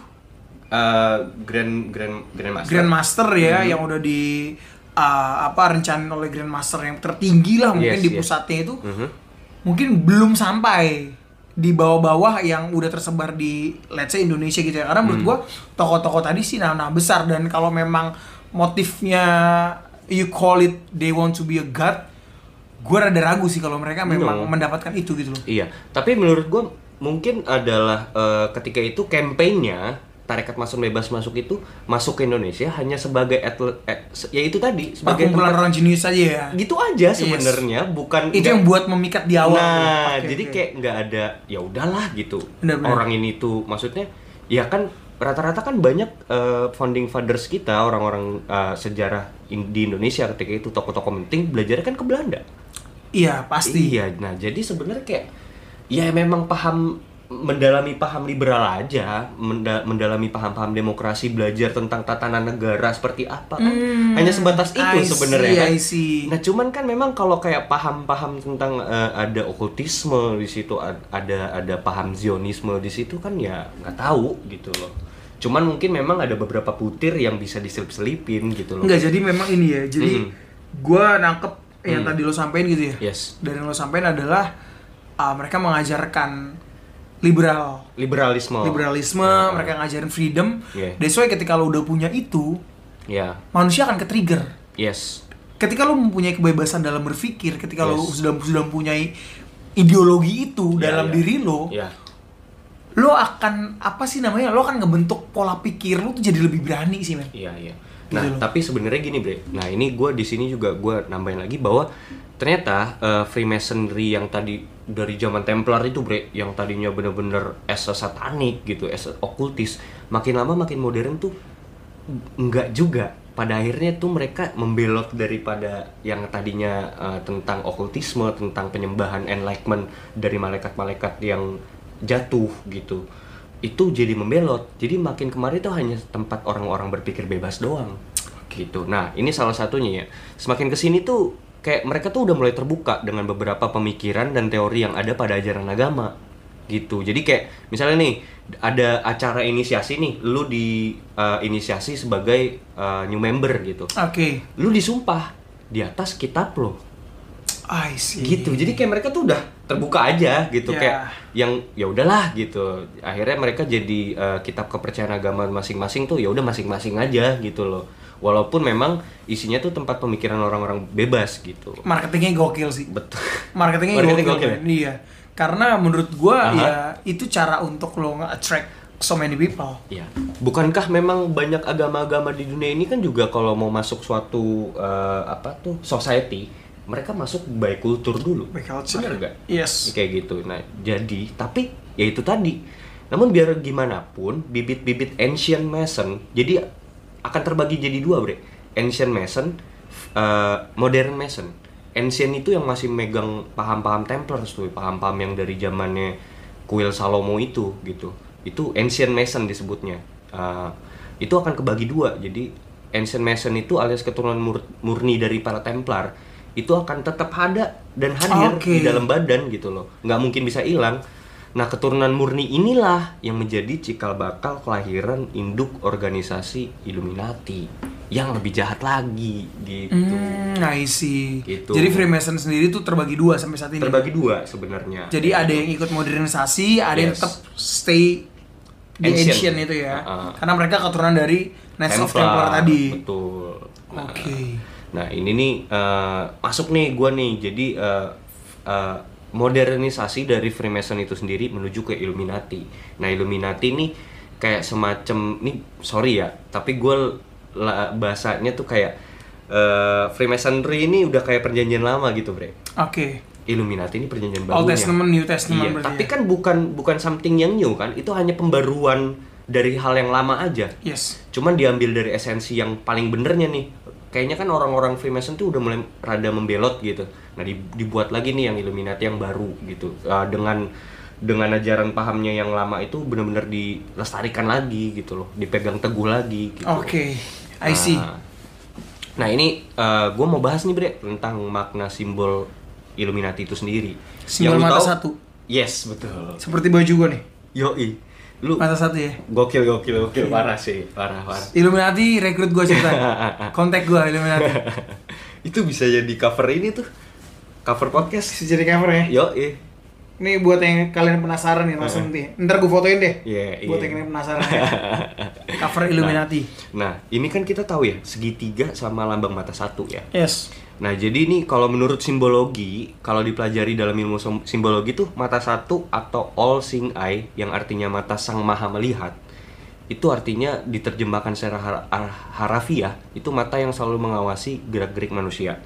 S2: Eh, grand grand grand master. Hmm.
S1: Grandmaster ya yang udah di uh, apa rencanain oleh Grandmaster yang tertinggi lah mungkin
S2: Yes,
S1: di
S2: yes.
S1: pusatnya itu
S2: Mhm.
S1: mungkin belum sampai di bawah-bawah yang udah tersebar di let's say Indonesia gitu ya karena
S2: Hmm.
S1: menurut gua toko-toko tadi sih nah, nah besar dan kalau memang motifnya you call it they want to be a god gua rada ragu sih kalau mereka memang
S2: No.
S1: mendapatkan itu gitu loh
S2: Iya, tapi menurut gua mungkin adalah eh, ketika itu kampanyenya tarekat mason bebas masuk itu masuk ke Indonesia hanya sebagai atle- eh, se- ya itu tadi sebagai
S1: perkumpulan
S2: tempat-
S1: orang jenius aja ya
S2: gitu aja sebenarnya bukan
S1: itu
S2: nggak-
S1: yang buat memikat di awal
S2: Nah,
S1: Oke,
S2: jadi
S1: oke.
S2: kayak nggak ada ya udahlah gitu.
S1: Benar-benar.
S2: Orang ini tuh maksudnya ya kan rata-rata kan banyak eh, founding fathers kita orang-orang eh, sejarah in- di Indonesia ketika itu tokoh-tokoh penting belajarnya kan ke Belanda.
S1: iya pasti
S2: Iya. Nah, jadi sebenarnya kayak ya memang paham mendalami paham liberal aja, menda- mendalami paham-paham demokrasi, belajar tentang tatanan negara seperti apa kan.
S1: Hmm,
S2: Hanya sebatas itu
S1: I see,
S2: sebenarnya. kan.
S1: I see.
S2: Nah, cuman kan memang kalau kayak paham-paham tentang eh, ada okultisme di situ, ad- ada ada paham Zionisme di situ kan ya nggak tahu gitu loh. Cuman mungkin memang ada beberapa putir yang bisa diselip-selipin gitu loh.
S1: Enggak, jadi memang ini ya. Jadi
S2: Mm.
S1: gua nangkep yang tadi lo sampein gitu ya.
S2: Yes.
S1: Dan yang lo sampein adalah ah, mereka mengajarkan liberal
S2: Liberalisme.
S1: liberalisme,
S2: Ya,
S1: mereka ngajarin freedom.
S2: Yeah.
S1: That's why ketika lo udah punya itu,
S2: Ya.
S1: manusia akan ke-trigger.
S2: Yes.
S1: Ketika lo mempunyai kebebasan dalam berpikir, ketika lo
S2: Yes.
S1: sudah sudah mempunyai ideologi itu
S2: Ya,
S1: dalam
S2: ya.
S1: diri lo,
S2: Ya.
S1: lo akan apa sih namanya? Lo akan ngebentuk pola pikir lo tuh jadi lebih berani sih, men.
S2: Iya iya.
S1: Gitu
S2: Nah
S1: loh.
S2: tapi sebenarnya gini bre. Nah ini gue di sini juga gue nambahin lagi bahwa ternyata eh, Freemasonry yang tadi dari zaman Templar itu bre, yang tadinya bener-bener as a satanik gitu, as a okultis, makin lama makin modern tuh enggak juga. Pada akhirnya tuh mereka membelot daripada yang tadinya eh, tentang okultisme, tentang penyembahan enlightenment dari malaikat-malaikat yang jatuh gitu itu jadi membelot jadi makin kemarin itu hanya tempat orang-orang berpikir bebas doang gitu nah ini salah satunya ya semakin kesini tuh kayak mereka tuh udah mulai terbuka dengan beberapa pemikiran dan teori yang ada pada ajaran agama gitu jadi kayak misalnya nih ada acara inisiasi nih lu di eh, inisiasi sebagai eh, new member gitu
S1: Oke.
S2: lu disumpah di atas kitab lo
S1: I see.
S2: gitu jadi kayak mereka tuh udah terbuka aja gitu
S1: Ya.
S2: kayak yang ya udahlah gitu akhirnya mereka jadi eh, kitab kepercayaan agama masing-masing tuh ya udah masing-masing aja gitu loh walaupun memang isinya tuh tempat pemikiran orang-orang bebas gitu
S1: marketingnya gokil sih.
S2: betul <laughs>
S1: marketingnya
S2: Marketing
S1: gokil,
S2: gokil
S1: men. iya karena menurut gua
S2: Aha.
S1: ya itu cara untuk lo nge-attract so many people
S2: ya bukankah memang banyak agama-agama di dunia ini kan juga kalau mau masuk suatu eh, apa tuh society mereka masuk by kultur dulu
S1: By culture.
S2: Bener nggak?
S1: yes
S2: kayak gitu nah jadi tapi ya itu tadi namun biar gimana pun bibit-bibit ancient mason jadi akan terbagi jadi dua bre ancient mason eh, modern mason ancient itu yang masih megang paham-paham templars tuh paham-paham yang dari zamannya kuil salomo itu gitu itu ancient mason disebutnya Eh, itu akan kebagi dua jadi ancient mason itu alias keturunan mur- murni dari para templar itu akan tetap ada dan hadir
S1: Oke.
S2: di dalam badan gitu loh nggak mungkin bisa hilang nah keturunan murni inilah yang menjadi cikal bakal kelahiran induk organisasi Illuminati yang lebih jahat lagi gitu.
S1: Hmm, I see.
S2: Gitu.
S1: Jadi Freemason sendiri tuh terbagi dua sampai saat ini.
S2: Terbagi dua sebenarnya.
S1: Jadi ada yang ikut modernisasi, ada yang
S2: Yes.
S1: tetap stay di
S2: Ancient.
S1: ancient, itu ya.
S2: Uh-uh.
S1: Karena mereka keturunan dari Knights of Templar tadi.
S2: Betul. Nah,
S1: Oke.
S2: Nah ini nih eh, masuk nih gua nih jadi eh, eh, modernisasi dari Freemason itu sendiri menuju ke Illuminati. Nah Illuminati nih kayak semacam nih sorry ya tapi gua la- bahasanya tuh kayak eh, Freemasonry ini udah kayak perjanjian lama gitu bre.
S1: Oke.
S2: Illuminati ini perjanjian
S1: Old
S2: barunya.
S1: Testament, New Testament
S2: Iya,
S1: berarti
S2: tapi
S1: ya.
S2: kan bukan bukan something yang new kan, itu hanya pembaruan dari hal yang lama aja.
S1: Yes.
S2: Cuman diambil dari esensi yang paling benernya nih. Kayaknya kan orang-orang Freemason tuh udah mulai rada membelot gitu. Nah, di- dibuat lagi nih yang Illuminati yang baru gitu. Eh, dengan dengan ajaran pahamnya yang lama itu benar-benar dilestarikan lagi gitu loh, dipegang teguh lagi gitu.
S1: Oke. I see.
S2: Nah, Nah ini gue mau bahas nih Bre tentang makna simbol Illuminati itu sendiri.
S1: Simbol
S2: lu
S1: mata
S2: tahu-
S1: satu.
S2: Yes betul.
S1: Seperti baju gua nih.
S2: Yoi. Lu
S1: Mata satu ya.
S2: gokil gokil gokil parah sih parah parah.
S1: Illuminati rekrut gua <laughs> cerita. Kontak gua <laughs> Illuminati.
S2: <laughs> itu bisa jadi cover ini tuh cover podcast.
S1: Bisa jadi cover ya.
S2: Yoi.
S1: Ini buat yang kalian penasaran nih langsung nih. Ntar gue fotoin deh.
S2: Iya,
S1: buat
S2: iya.
S1: yang kalian <laughs> penasaran
S2: <laughs>
S1: ya. Cover Illuminati.
S2: Nah ini kan kita tahu ya segitiga sama lambang mata satu ya.
S1: Yes.
S2: Nah, jadi ini kalau menurut simbologi, kalau dipelajari dalam ilmu som- simbologi tuh mata satu atau all seeing eye yang artinya mata sang maha melihat. Itu artinya diterjemahkan secara har- har- harafiah, itu mata yang selalu mengawasi gerak-gerik manusia.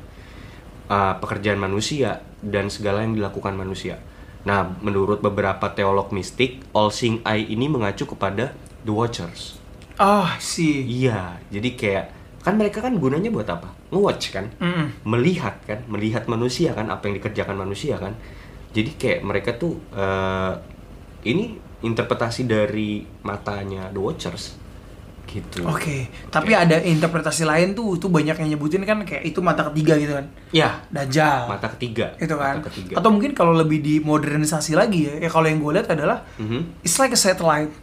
S2: uh, pekerjaan manusia dan segala yang dilakukan manusia. Nah, menurut beberapa teolog mistik, all seeing eye ini mengacu kepada the watchers.
S1: Ah, sih.
S2: Iya, jadi kayak kan mereka kan gunanya buat apa? Nge-watch kan?
S1: Mm-mm.
S2: melihat kan melihat manusia kan apa yang dikerjakan manusia kan jadi kayak mereka tuh eh, ini interpretasi dari matanya The Watchers gitu
S1: Oke, tapi ada interpretasi lain tuh, tuh banyak yang nyebutin kan kayak itu mata ketiga gitu kan,
S2: ya
S1: Dajjal,
S2: mata ketiga
S1: itu kan.
S2: mata ketiga
S1: Atau mungkin kalau lebih dimodernisasi lagi ya, ya kalau yang gue lihat adalah
S2: Mhm.
S1: it's like a satellite,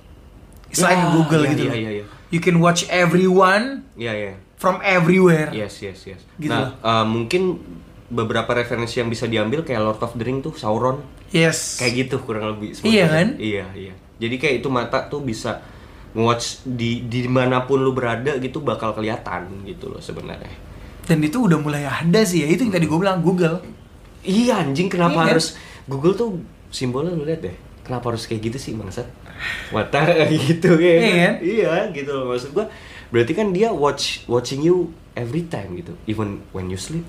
S1: it's
S2: Ya,
S1: like Google
S2: iya,
S1: gitu.
S2: iya,
S1: loh.
S2: iya, iya.
S1: You can watch everyone
S2: ya ya
S1: from everywhere.
S2: yes yes yes
S1: Gitu loh.
S2: nah eh, mungkin beberapa referensi yang bisa diambil kayak Lord of the Ring tuh Sauron
S1: Yes.
S2: kayak gitu kurang lebih
S1: Iya kan?
S2: iya iya jadi kayak itu mata tuh bisa watch di di manapun lu berada gitu bakal kelihatan gitu loh sebenarnya
S1: Dan itu udah mulai ada sih ya, itu yang tadi gue bilang Google.
S2: iya anjing kenapa
S1: Iya kan?
S2: harus Google tuh simbolnya lu lihat deh kenapa harus kayak gitu sih bangsat mata <laughs> gitu ya
S1: Iya kan?
S2: iya gitu loh maksud gua berarti kan dia watch watching you every time gitu even when you sleep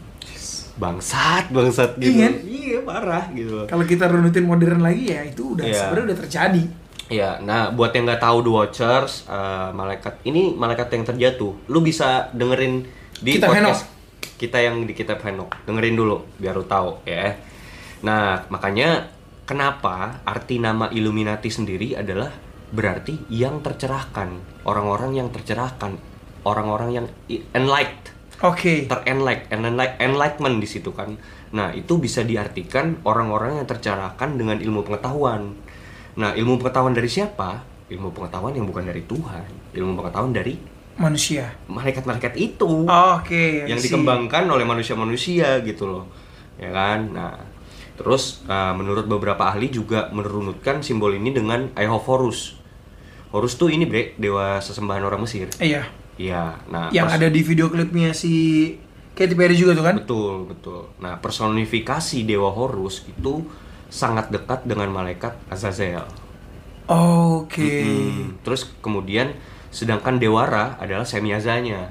S2: bangsat bangsat gitu
S1: Iya kan?
S2: iya parah gitu loh
S1: Kalau kita runutin modern lagi ya, itu udah
S2: Iya.
S1: sebenarnya udah terjadi.
S2: Ya, nah buat yang nggak tahu The Watchers, eh, malaikat ini malaikat yang terjatuh. Lu bisa dengerin di
S1: Kitab
S2: podcast kita yang di Kitab Henok. Dengerin dulu biar lu tahu ya. Nah, makanya kenapa arti nama Illuminati sendiri adalah berarti yang tercerahkan, orang-orang yang tercerahkan, orang-orang yang i- enlightened
S1: Oke.
S2: terenlight, enlight, enlightenment di situ kan. Nah itu bisa diartikan orang-orang yang tercerahkan dengan ilmu pengetahuan. Nah ilmu pengetahuan dari siapa? Ilmu pengetahuan yang bukan dari Tuhan. Ilmu pengetahuan dari
S1: Manusia.
S2: malaikat-malaikat itu
S1: Oh, Oke.
S2: yang
S1: I see.
S2: dikembangkan oleh manusia-manusia gitu loh ya kan nah terus eh, menurut beberapa ahli juga merunutkan simbol ini dengan Iho Horus Horus tuh ini bre dewa sesembahan orang Mesir
S1: Iya.
S2: iya nah
S1: yang
S2: pers-
S1: ada di video klipnya si Katy Perry juga tuh kan?
S2: Betul, betul. Nah, personifikasi Dewa Horus itu sangat dekat dengan malaikat Azazel.
S1: Oke.
S2: Hmm, Terus kemudian sedangkan Dewara adalah semiazanya.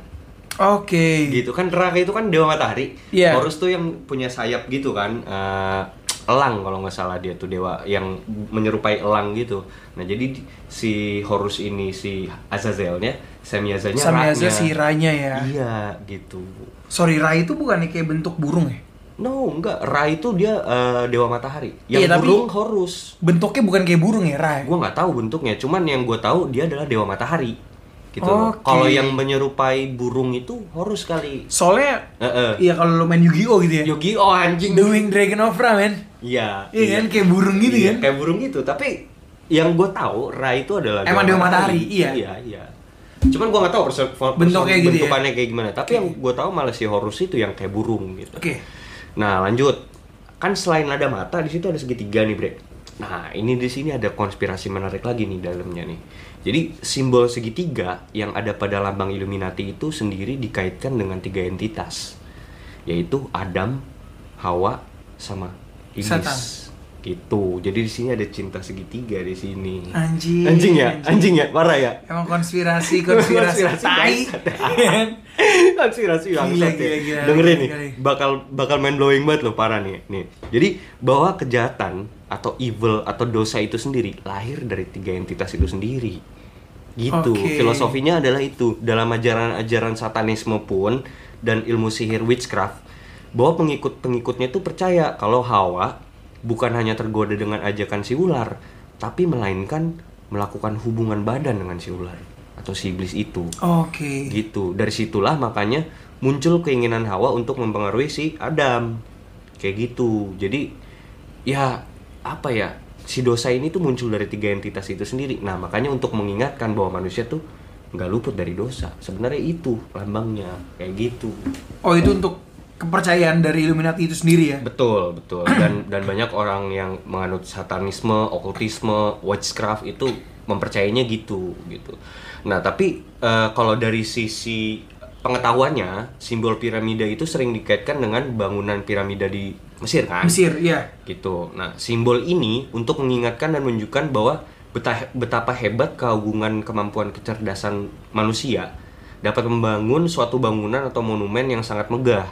S1: Oke.
S2: Gitu kan Raka itu kan dewa matahari.
S1: Iya.
S2: Horus tuh yang punya sayap gitu kan. eh, elang kalau nggak salah dia tuh dewa yang menyerupai elang gitu. Nah, jadi di- si Horus ini si Azazelnya, semiazanya
S1: Sama
S2: Ra-nya.
S1: aja si Ranya ya.
S2: Iya, gitu.
S1: Sorry, Ra itu bukannya kayak bentuk burung ya?
S2: No, enggak. Ra itu dia eh, dewa matahari.
S1: Iya,
S2: Yang
S1: tapi-
S2: burung Horus. Eh,
S1: Bentuknya bukan kayak burung ya, Ra?
S2: Gua nggak tahu bentuknya, cuman yang gue tahu dia adalah dewa matahari. Gitu. loh.
S1: Oke.
S2: Kalau yang menyerupai burung itu Horus kali.
S1: Soalnya
S2: Heeh.
S1: Iya kalau lo main Yu-Gi-Oh gitu ya.
S2: Yogi oh anjing.
S1: The Winged Dragon of Ra, men.
S2: Iya.
S1: Iya kan kayak burung gitu kan?
S2: Iya, Kayak burung gitu, tapi yang gue tahu Ra itu adalah
S1: Emang dewa matahari, iya.
S2: Iya, iya. Cuman gua nggak tahu persen,
S1: Bentuknya gitu ya?
S2: bentukannya kayak gimana. Tapi yang gua tahu malah si Horus itu yang kayak burung gitu.
S1: Oke.
S2: Nah, lanjut. Kan selain ada mata, di situ ada segitiga nih, Brek. Nah, ini di sini ada konspirasi menarik lagi nih dalamnya nih. Jadi, simbol segitiga yang ada pada lambang Illuminati itu sendiri dikaitkan dengan tiga entitas, yaitu Adam, Hawa, sama Iblis.
S1: Setan.
S2: Gitu. Jadi di sini ada cinta segitiga di sini.
S1: Anjing,
S2: Anjing ya?
S1: anjing.
S2: Anjing ya? Parah ya?
S1: Emang konspirasi konspirasi
S2: Konspirasi
S1: tai.
S2: <laughs> Konspirasi
S1: Gila,
S2: bangsat ya.
S1: gila, gila. Gila,
S2: Dengerin nih,
S1: gila.
S2: bakal bakal main blowing banget loh parah nih. Nih. Jadi bahwa kejahatan atau evil atau dosa itu sendiri lahir dari tiga entitas itu sendiri. Gitu.
S1: Oke.
S2: Filosofinya adalah itu. Dalam ajaran-ajaran satanisme pun dan ilmu sihir witchcraft bahwa pengikut-pengikutnya itu percaya kalau Hawa bukan hanya tergoda dengan ajakan si ular, tapi melainkan melakukan hubungan badan dengan si ular atau si iblis itu
S1: Oke.
S2: gitu dari situlah makanya muncul keinginan Hawa untuk mempengaruhi si Adam kayak gitu jadi ya apa ya si dosa ini tuh muncul dari tiga entitas itu sendiri nah makanya untuk mengingatkan bahwa manusia tuh nggak luput dari dosa sebenarnya itu lambangnya kayak gitu
S1: Oh, itu untuk kepercayaan dari Illuminati itu sendiri ya.
S2: betul betul dan dan banyak orang yang menganut satanisme okultisme witchcraft itu mempercayainya gitu gitu nah tapi eh, kalau dari sisi pengetahuannya simbol piramida itu sering dikaitkan dengan bangunan piramida di Mesir kan
S1: Mesir, ya.
S2: gitu. Nah, simbol ini untuk mengingatkan dan menunjukkan bahwa beta- betapa hebat keagungan kemampuan kecerdasan manusia dapat membangun suatu bangunan atau monumen yang sangat megah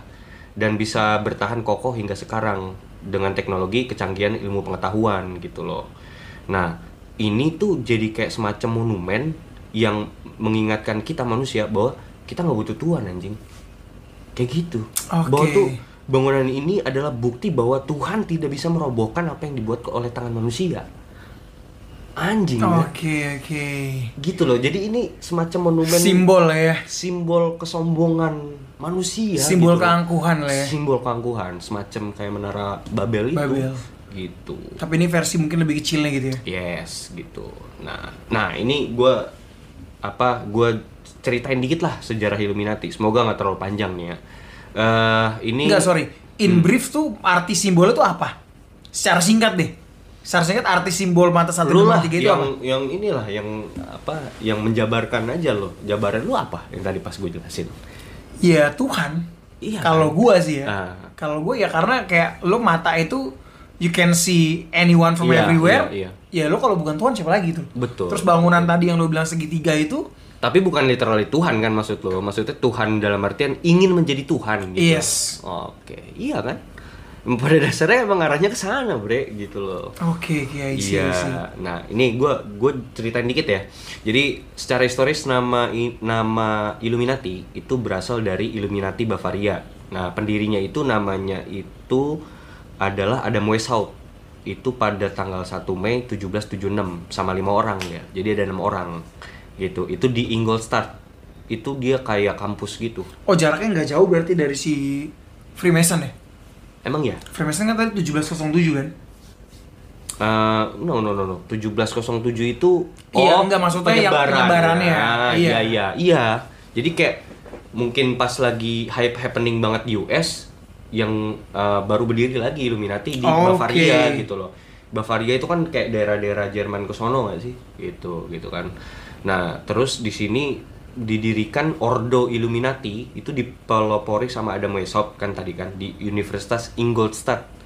S2: dan bisa bertahan kokoh hingga sekarang dengan teknologi kecanggihan ilmu pengetahuan gitu loh. Nah, ini tuh jadi kayak semacam monumen yang mengingatkan kita manusia bahwa kita nggak butuh tuan anjing. Kayak gitu.
S1: Oke.
S2: Bahwa tuh Bangunan ini adalah bukti bahwa Tuhan tidak bisa merobohkan apa yang dibuat oleh tangan manusia. Anjing. ya?
S1: Oke, oke.
S2: Gitu loh. Jadi ini semacam monumen
S1: Simbol lah ya.
S2: simbol kesombongan manusia.
S1: Simbol
S2: gitu loh.
S1: keangkuhan lah ya.
S2: Simbol keangkuhan, semacam kayak menara Babel itu.
S1: Babel.
S2: Gitu.
S1: Tapi ini versi mungkin lebih kecilnya gitu ya.
S2: Yes, gitu. Nah, nah ini gua apa? Gua ceritain dikit lah sejarah Illuminati. Semoga nggak terlalu panjang nih ya. Eh, ini Hmm.
S1: Enggak, sorry. In brief tuh arti simbolnya tuh apa? Secara singkat deh. Secara singkat arti simbol mata satu
S2: lu lah
S1: tiga itu
S2: yang
S1: apa?
S2: yang inilah yang apa yang menjabarkan aja lo jabaran lu apa yang tadi pas gue jelasin
S1: Ya Tuhan.
S2: Iya,
S1: Kalau
S2: kan?
S1: gua sih ya.
S2: Ah.
S1: Kalau gua ya karena kayak lo mata itu you can see anyone from
S2: Iya,
S1: everywhere.
S2: iya,
S1: Ya lo kalau bukan Tuhan siapa lagi tuh?
S2: Betul.
S1: Terus bangunan tadi yang lo bilang segitiga itu,
S2: tapi bukan literally Tuhan kan maksud lo maksudnya Tuhan dalam artian ingin menjadi Tuhan gitu
S1: Yes.
S2: oke iya kan pada dasarnya emang arahnya ke sana bre gitu loh
S1: oke, kayak isi
S2: Iya. Nah, ini gue gue ceritain dikit ya. Jadi secara historis nama i- nama Illuminati itu berasal dari Illuminati Bavaria. Nah, pendirinya itu namanya itu adalah Adam Weishaupt. Itu pada tanggal 1 Mei 1776 sama lima orang ya. Jadi ada enam orang gitu. Itu di Ingolstadt. Itu dia kayak kampus gitu.
S1: Oh jaraknya nggak jauh berarti dari si Freemason ya?
S2: Emang ya?
S1: Freemason kan tadi 1707 kan?
S2: Eh, no no no no 1707 itu oh,
S1: Iya, enggak, maksudnya yang penyebarannya. Iya.
S2: Ah, iya iya iya jadi kayak mungkin pas lagi hype happening banget di US yang eh, baru berdiri lagi Illuminati di
S1: Oke.
S2: Bavaria gitu loh Bavaria itu kan kayak daerah-daerah Jerman ke sono nggak sih gitu gitu kan nah terus di sini didirikan Ordo Illuminati itu dipelopori sama Adam Weishaupt kan tadi kan di Universitas Ingolstadt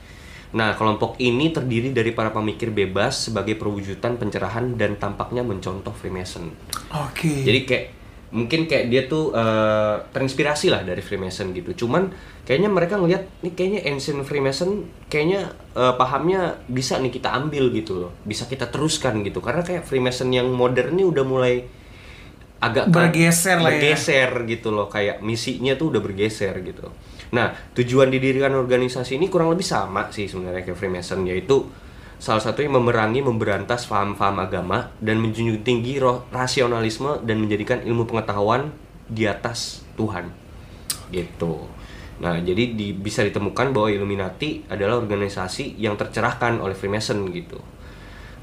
S2: Nah, kelompok ini terdiri dari para pemikir bebas sebagai perwujudan pencerahan dan tampaknya mencontoh Freemason.
S1: Oke.
S2: Jadi kayak mungkin kayak dia tuh eh, terinspirasi lah dari Freemason gitu. Cuman kayaknya mereka ngelihat nih kayaknya ancient Freemason kayaknya eh, pahamnya bisa nih kita ambil gitu loh. Bisa kita teruskan gitu. Karena kayak Freemason yang modern nih udah mulai agak ke-
S1: Bergeser lah ya.
S2: bergeser gitu loh kayak misinya tuh udah bergeser gitu. Nah, tujuan didirikan organisasi ini kurang lebih sama sih sebenarnya kayak Freemason yaitu salah satunya memerangi memberantas paham-paham agama dan menjunjung tinggi roh, rasionalisme dan menjadikan ilmu pengetahuan di atas Tuhan. Gitu. Nah, jadi di- bisa ditemukan bahwa Illuminati adalah organisasi yang tercerahkan oleh Freemason gitu.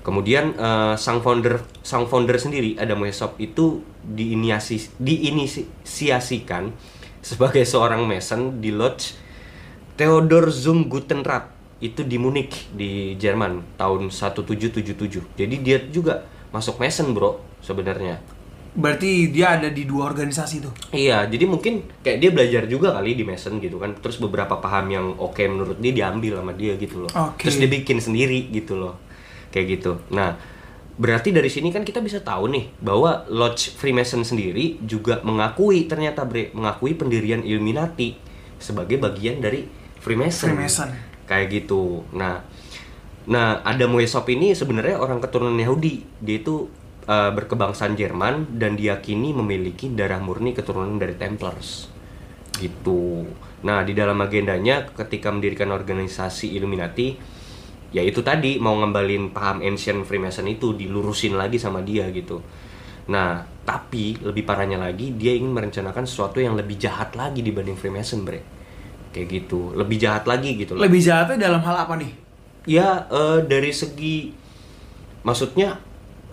S2: Kemudian eh, sang founder sang founder sendiri Adam Weishaupt itu diinisiasi diinisiasikan sebagai seorang mason di lodge Theodor Zum Gutenrat itu di Munich di Jerman tahun 1777. Jadi dia juga masuk mason bro sebenarnya.
S1: Berarti dia ada di dua organisasi tuh.
S2: Iya, jadi mungkin kayak dia belajar juga kali di Mason gitu kan. Terus beberapa paham yang oke menurut dia diambil sama dia gitu loh.
S1: Oke.
S2: Terus dia bikin sendiri gitu loh. Kayak gitu. Nah, berarti dari sini kan kita bisa tahu nih bahwa Lodge Freemason sendiri juga mengakui ternyata Bre mengakui pendirian Illuminati sebagai bagian dari Freemason.
S1: Freemason.
S2: Kayak gitu. Nah, nah Adam Weishaupt ini sebenarnya orang keturunan Yahudi. Dia itu eh, berkebangsaan Jerman dan diyakini memiliki darah murni keturunan dari Templars. Gitu. Nah, di dalam agendanya ketika mendirikan organisasi Illuminati, ya itu tadi mau ngembalin paham ancient Freemason itu dilurusin lagi sama dia gitu. Nah, tapi lebih parahnya lagi dia ingin merencanakan sesuatu yang lebih jahat lagi dibanding Freemason, Bre. Kayak gitu, lebih jahat lagi gitu loh
S1: Lebih jahatnya dalam hal apa nih?
S2: ya eh, dari segi maksudnya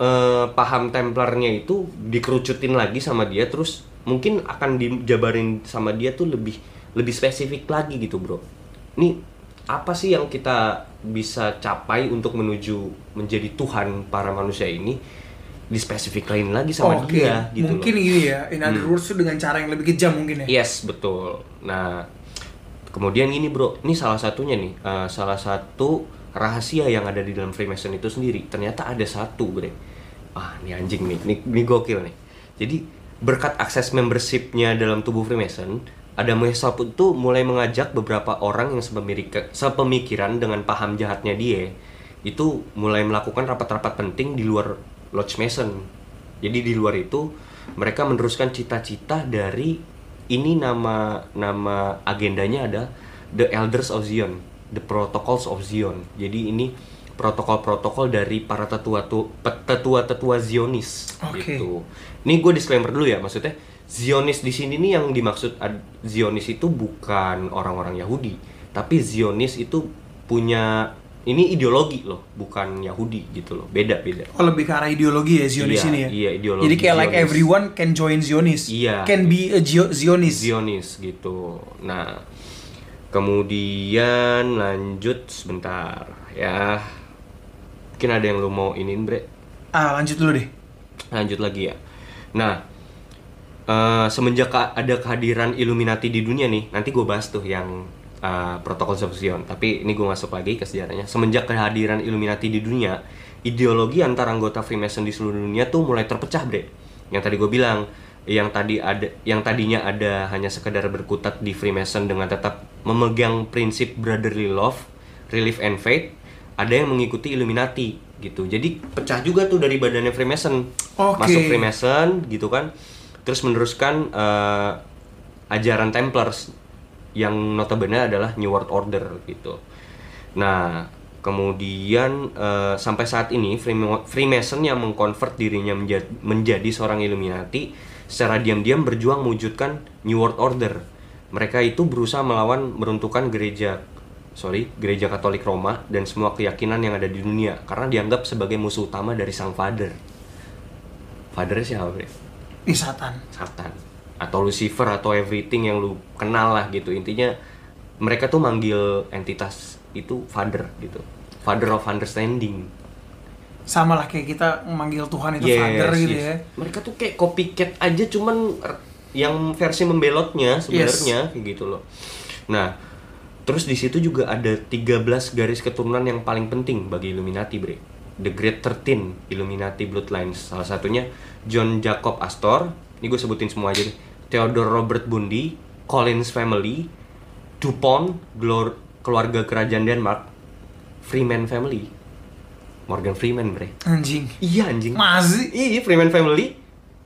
S2: eh, paham Templarnya itu dikerucutin lagi sama dia terus mungkin akan dijabarin sama dia tuh lebih lebih spesifik lagi gitu bro ini apa sih yang kita bisa capai untuk menuju menjadi Tuhan para manusia ini dispesifikain lagi sama
S1: Oke,
S2: dia gitu loh. Hmm.
S1: mungkin gini ya, in other words tuh dengan cara yang lebih kejam mungkin ya.
S2: Yes, betul. Nah, kemudian gini bro, ini salah satunya nih, eh, salah satu rahasia yang ada di dalam Freemason itu sendiri. Ternyata ada satu bre. Ah, ini anjing nih, ini, ini gokil nih. Jadi berkat akses membershipnya dalam tubuh Freemason, Adam Weishaupt itu mulai mengajak beberapa orang yang sepemiri- sepemikiran dengan paham jahatnya dia itu mulai melakukan rapat-rapat penting di luar Lodge Mason. Jadi di luar itu mereka meneruskan cita-cita dari ini nama nama agendanya ada The Elders of Zion, The Protocols of Zion. Jadi ini protokol-protokol dari para tetua tu- pe- tetua-tetua Zionis
S1: Oke.
S2: gitu. Ini gue disclaimer dulu ya, maksudnya Zionis di sini nih yang dimaksud ad- Zionis itu bukan orang-orang Yahudi, tapi Zionis itu punya ini ideologi loh, bukan Yahudi gitu loh. Beda-beda.
S1: Oh lebih ke arah ideologi ya Zionis
S2: Iya,
S1: ini ya.
S2: iya, ideologi
S1: Jadi kayak like
S2: Zionis.
S1: everyone can join Zionis.
S2: Iya.
S1: Can be a Zio- Zionis.
S2: Zionis gitu. Nah, kemudian lanjut sebentar ya. Mungkin ada yang lu mau inin, Bre.
S1: Ah lanjut dulu deh.
S2: Lanjut lagi ya. Nah, eh, semenjak ka- ada kehadiran Illuminati di dunia nih, nanti gue bahas tuh yang eh, protokol of Zion. Tapi ini gue masuk lagi ke sejarahnya. Semenjak kehadiran Illuminati di dunia, ideologi antara anggota Freemason di seluruh dunia tuh mulai terpecah, Bre. Yang tadi gue bilang, yang tadi ada yang tadinya ada hanya sekedar berkutat di Freemason dengan tetap memegang prinsip brotherly love, relief and faith, ada yang mengikuti Illuminati gitu. Jadi pecah juga tuh dari badannya Freemason.
S1: Oke.
S2: Masuk Freemason Mason gitu kan terus meneruskan eh, ajaran Templars yang notabene adalah New World Order gitu. Nah, kemudian eh, sampai saat ini Freem- Freemason yang mengkonvert dirinya menja- menjadi, seorang Illuminati secara diam-diam berjuang mewujudkan New World Order. Mereka itu berusaha melawan meruntuhkan gereja sorry gereja Katolik Roma dan semua keyakinan yang ada di dunia karena dianggap sebagai musuh utama dari sang Father. Fathernya siapa? Bre?
S1: Ih satan.
S2: Satan atau Lucifer atau everything yang lu kenal lah gitu intinya mereka tuh manggil entitas itu father gitu father of understanding
S1: Sama lah kayak kita manggil Tuhan itu
S2: Yes,
S1: father gitu
S2: yes.
S1: ya.
S2: mereka tuh kayak copycat aja cuman r- yang versi membelotnya sebenarnya kayak gitu loh nah terus di situ juga ada 13 garis keturunan yang paling penting bagi Illuminati bre The Great 13 Illuminati Bloodlines salah satunya John Jacob Astor ini gue sebutin semua aja deh Theodore Robert Bundy Collins Family DuPont Glor- keluarga kerajaan Denmark Freeman Family Morgan Freeman bre
S1: Anjing.
S2: iya anjing
S1: Masih.
S2: Iya, Freeman Family.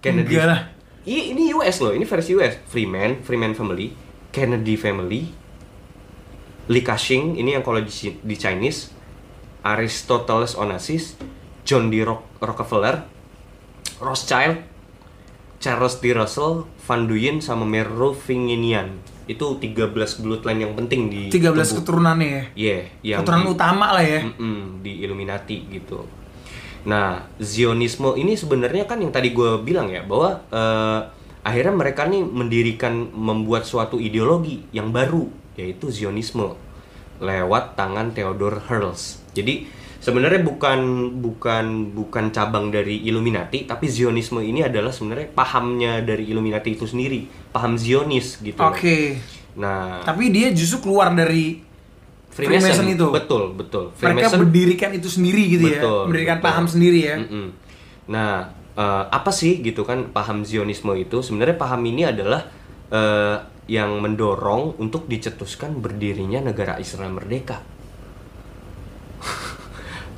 S2: Kennedy.
S1: Enggak lah.
S2: Iya, ini US loh. Ini versi US. Freeman, Freeman Family, Kennedy Family, Li Ka-shing, ini yang kalau di, Chi- di Chinese, Aristoteles Onassis, John D. Roc- Rockefeller, Rothschild, Charles D. Russell, Van Duyen, sama Merovinginian. Itu 13 bloodline yang penting
S1: 13
S2: di tubuh.
S1: keturunannya ya.
S2: Iya, yang
S1: Keturunan utama lah ya.
S2: Mm-mm, di Illuminati gitu. Nah, Zionisme ini sebenarnya kan yang tadi gue bilang ya bahwa eh, akhirnya mereka nih mendirikan membuat suatu ideologi yang baru yaitu Zionisme lewat tangan Theodor Herzl. Jadi sebenarnya bukan bukan bukan cabang dari Illuminati tapi Zionisme ini adalah sebenarnya pahamnya dari Illuminati itu sendiri, paham Zionis gitu.
S1: Oke.
S2: Nah,
S1: Tapi dia justru keluar dari
S2: Freemason,
S1: Freemason itu.
S2: betul betul.
S1: mereka berdirikan itu sendiri gitu
S2: Betul,
S1: ya. Mendirikan
S2: betul. Mm.
S1: paham sendiri ya.
S2: Mm-mm. Nah, eh, apa sih gitu kan paham Zionisme itu? Sebenarnya paham ini adalah eh, yang mendorong untuk dicetuskan berdirinya negara Israel merdeka.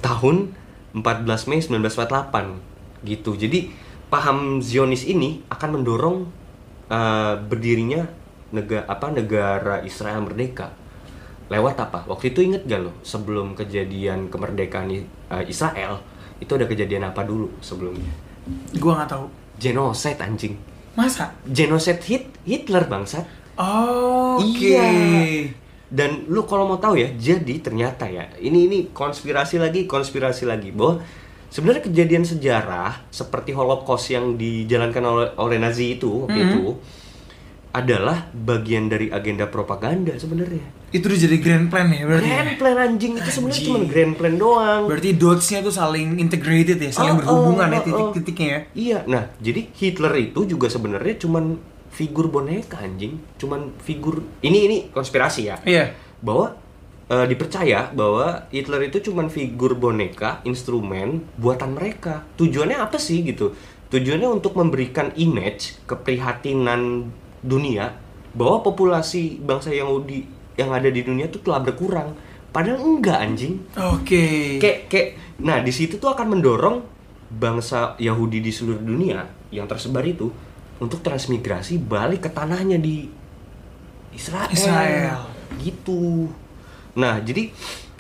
S2: Tahun 14 Mei 1948 gitu. Jadi paham Zionis ini akan mendorong eh, berdirinya negara apa negara Israel merdeka. Lewat apa? Waktu itu inget gak lo sebelum kejadian kemerdekaan I- eh, Israel itu ada kejadian apa dulu sebelumnya?
S1: Gua nggak tahu.
S2: Genoside anjing.
S1: Masa?
S2: Genoside Hit Hitler bangsat.
S1: Oh, Oke.
S2: Iya. Dan lu kalau mau tahu ya, jadi ternyata ya, ini ini konspirasi lagi, konspirasi lagi bahwa sebenarnya kejadian sejarah seperti Holocaust yang dijalankan oleh oleh Nazi itu
S1: Hmm.
S2: waktu itu adalah bagian dari agenda propaganda sebenarnya.
S1: Itu udah jadi grand plan ya berarti. ya?
S2: Grand plan anjing itu
S1: Iya.
S2: sebenarnya
S1: Anjing.
S2: cuma grand plan doang.
S1: Berarti dots-nya tuh saling integrated ya, saling
S2: Oh,
S1: berhubungan
S2: oh,
S1: ya
S2: oh, oh.
S1: titik-titiknya ya.
S2: Iya, nah jadi Hitler itu juga sebenarnya cuman figur boneka anjing, cuman figur ini ini konspirasi ya.
S1: Iya.
S2: Bahwa eh, dipercaya bahwa Hitler itu cuman figur boneka, instrumen buatan mereka. Tujuannya apa sih gitu? Tujuannya untuk memberikan image keprihatinan dunia bahwa populasi bangsa Yahudi yang ada di dunia itu telah berkurang. Padahal enggak anjing
S1: Oke.
S2: kayak kayak nah di situ tuh akan mendorong bangsa Yahudi di seluruh dunia yang tersebar itu untuk transmigrasi balik ke tanahnya di Israel,
S1: Israel.
S2: gitu nah jadi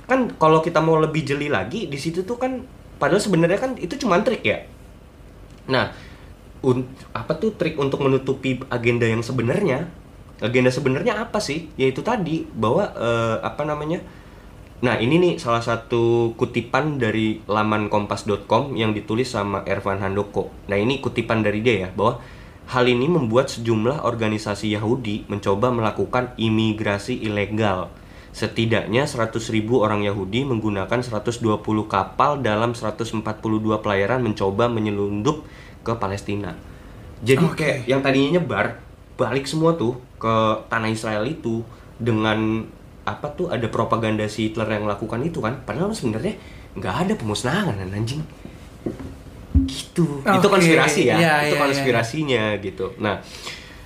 S2: kan kalau kita mau lebih jeli lagi di situ tuh kan padahal sebenarnya kan itu cuma trik ya nah un- apa tuh trik untuk menutupi agenda yang sebenarnya agenda sebenarnya apa sih yaitu tadi bahwa eh, apa namanya Nah, ini nih salah satu kutipan dari laman kompas.com yang ditulis sama Ervan Handoko. Nah, ini kutipan dari dia ya, bahwa hal ini membuat sejumlah organisasi Yahudi mencoba melakukan imigrasi ilegal. Setidaknya 100.000 orang Yahudi menggunakan 120 kapal dalam 142 pelayaran mencoba menyelundup ke Palestina. Jadi
S1: Oke.
S2: kayak yang tadinya nyebar balik semua tuh ke tanah Israel itu dengan apa tuh ada propaganda si Hitler yang lakukan itu kan padahal sebenarnya nggak ada pemusnahan anjing gitu itu
S1: Oke,
S2: konspirasi ya
S1: iya, iya,
S2: itu konspirasinya gitu nah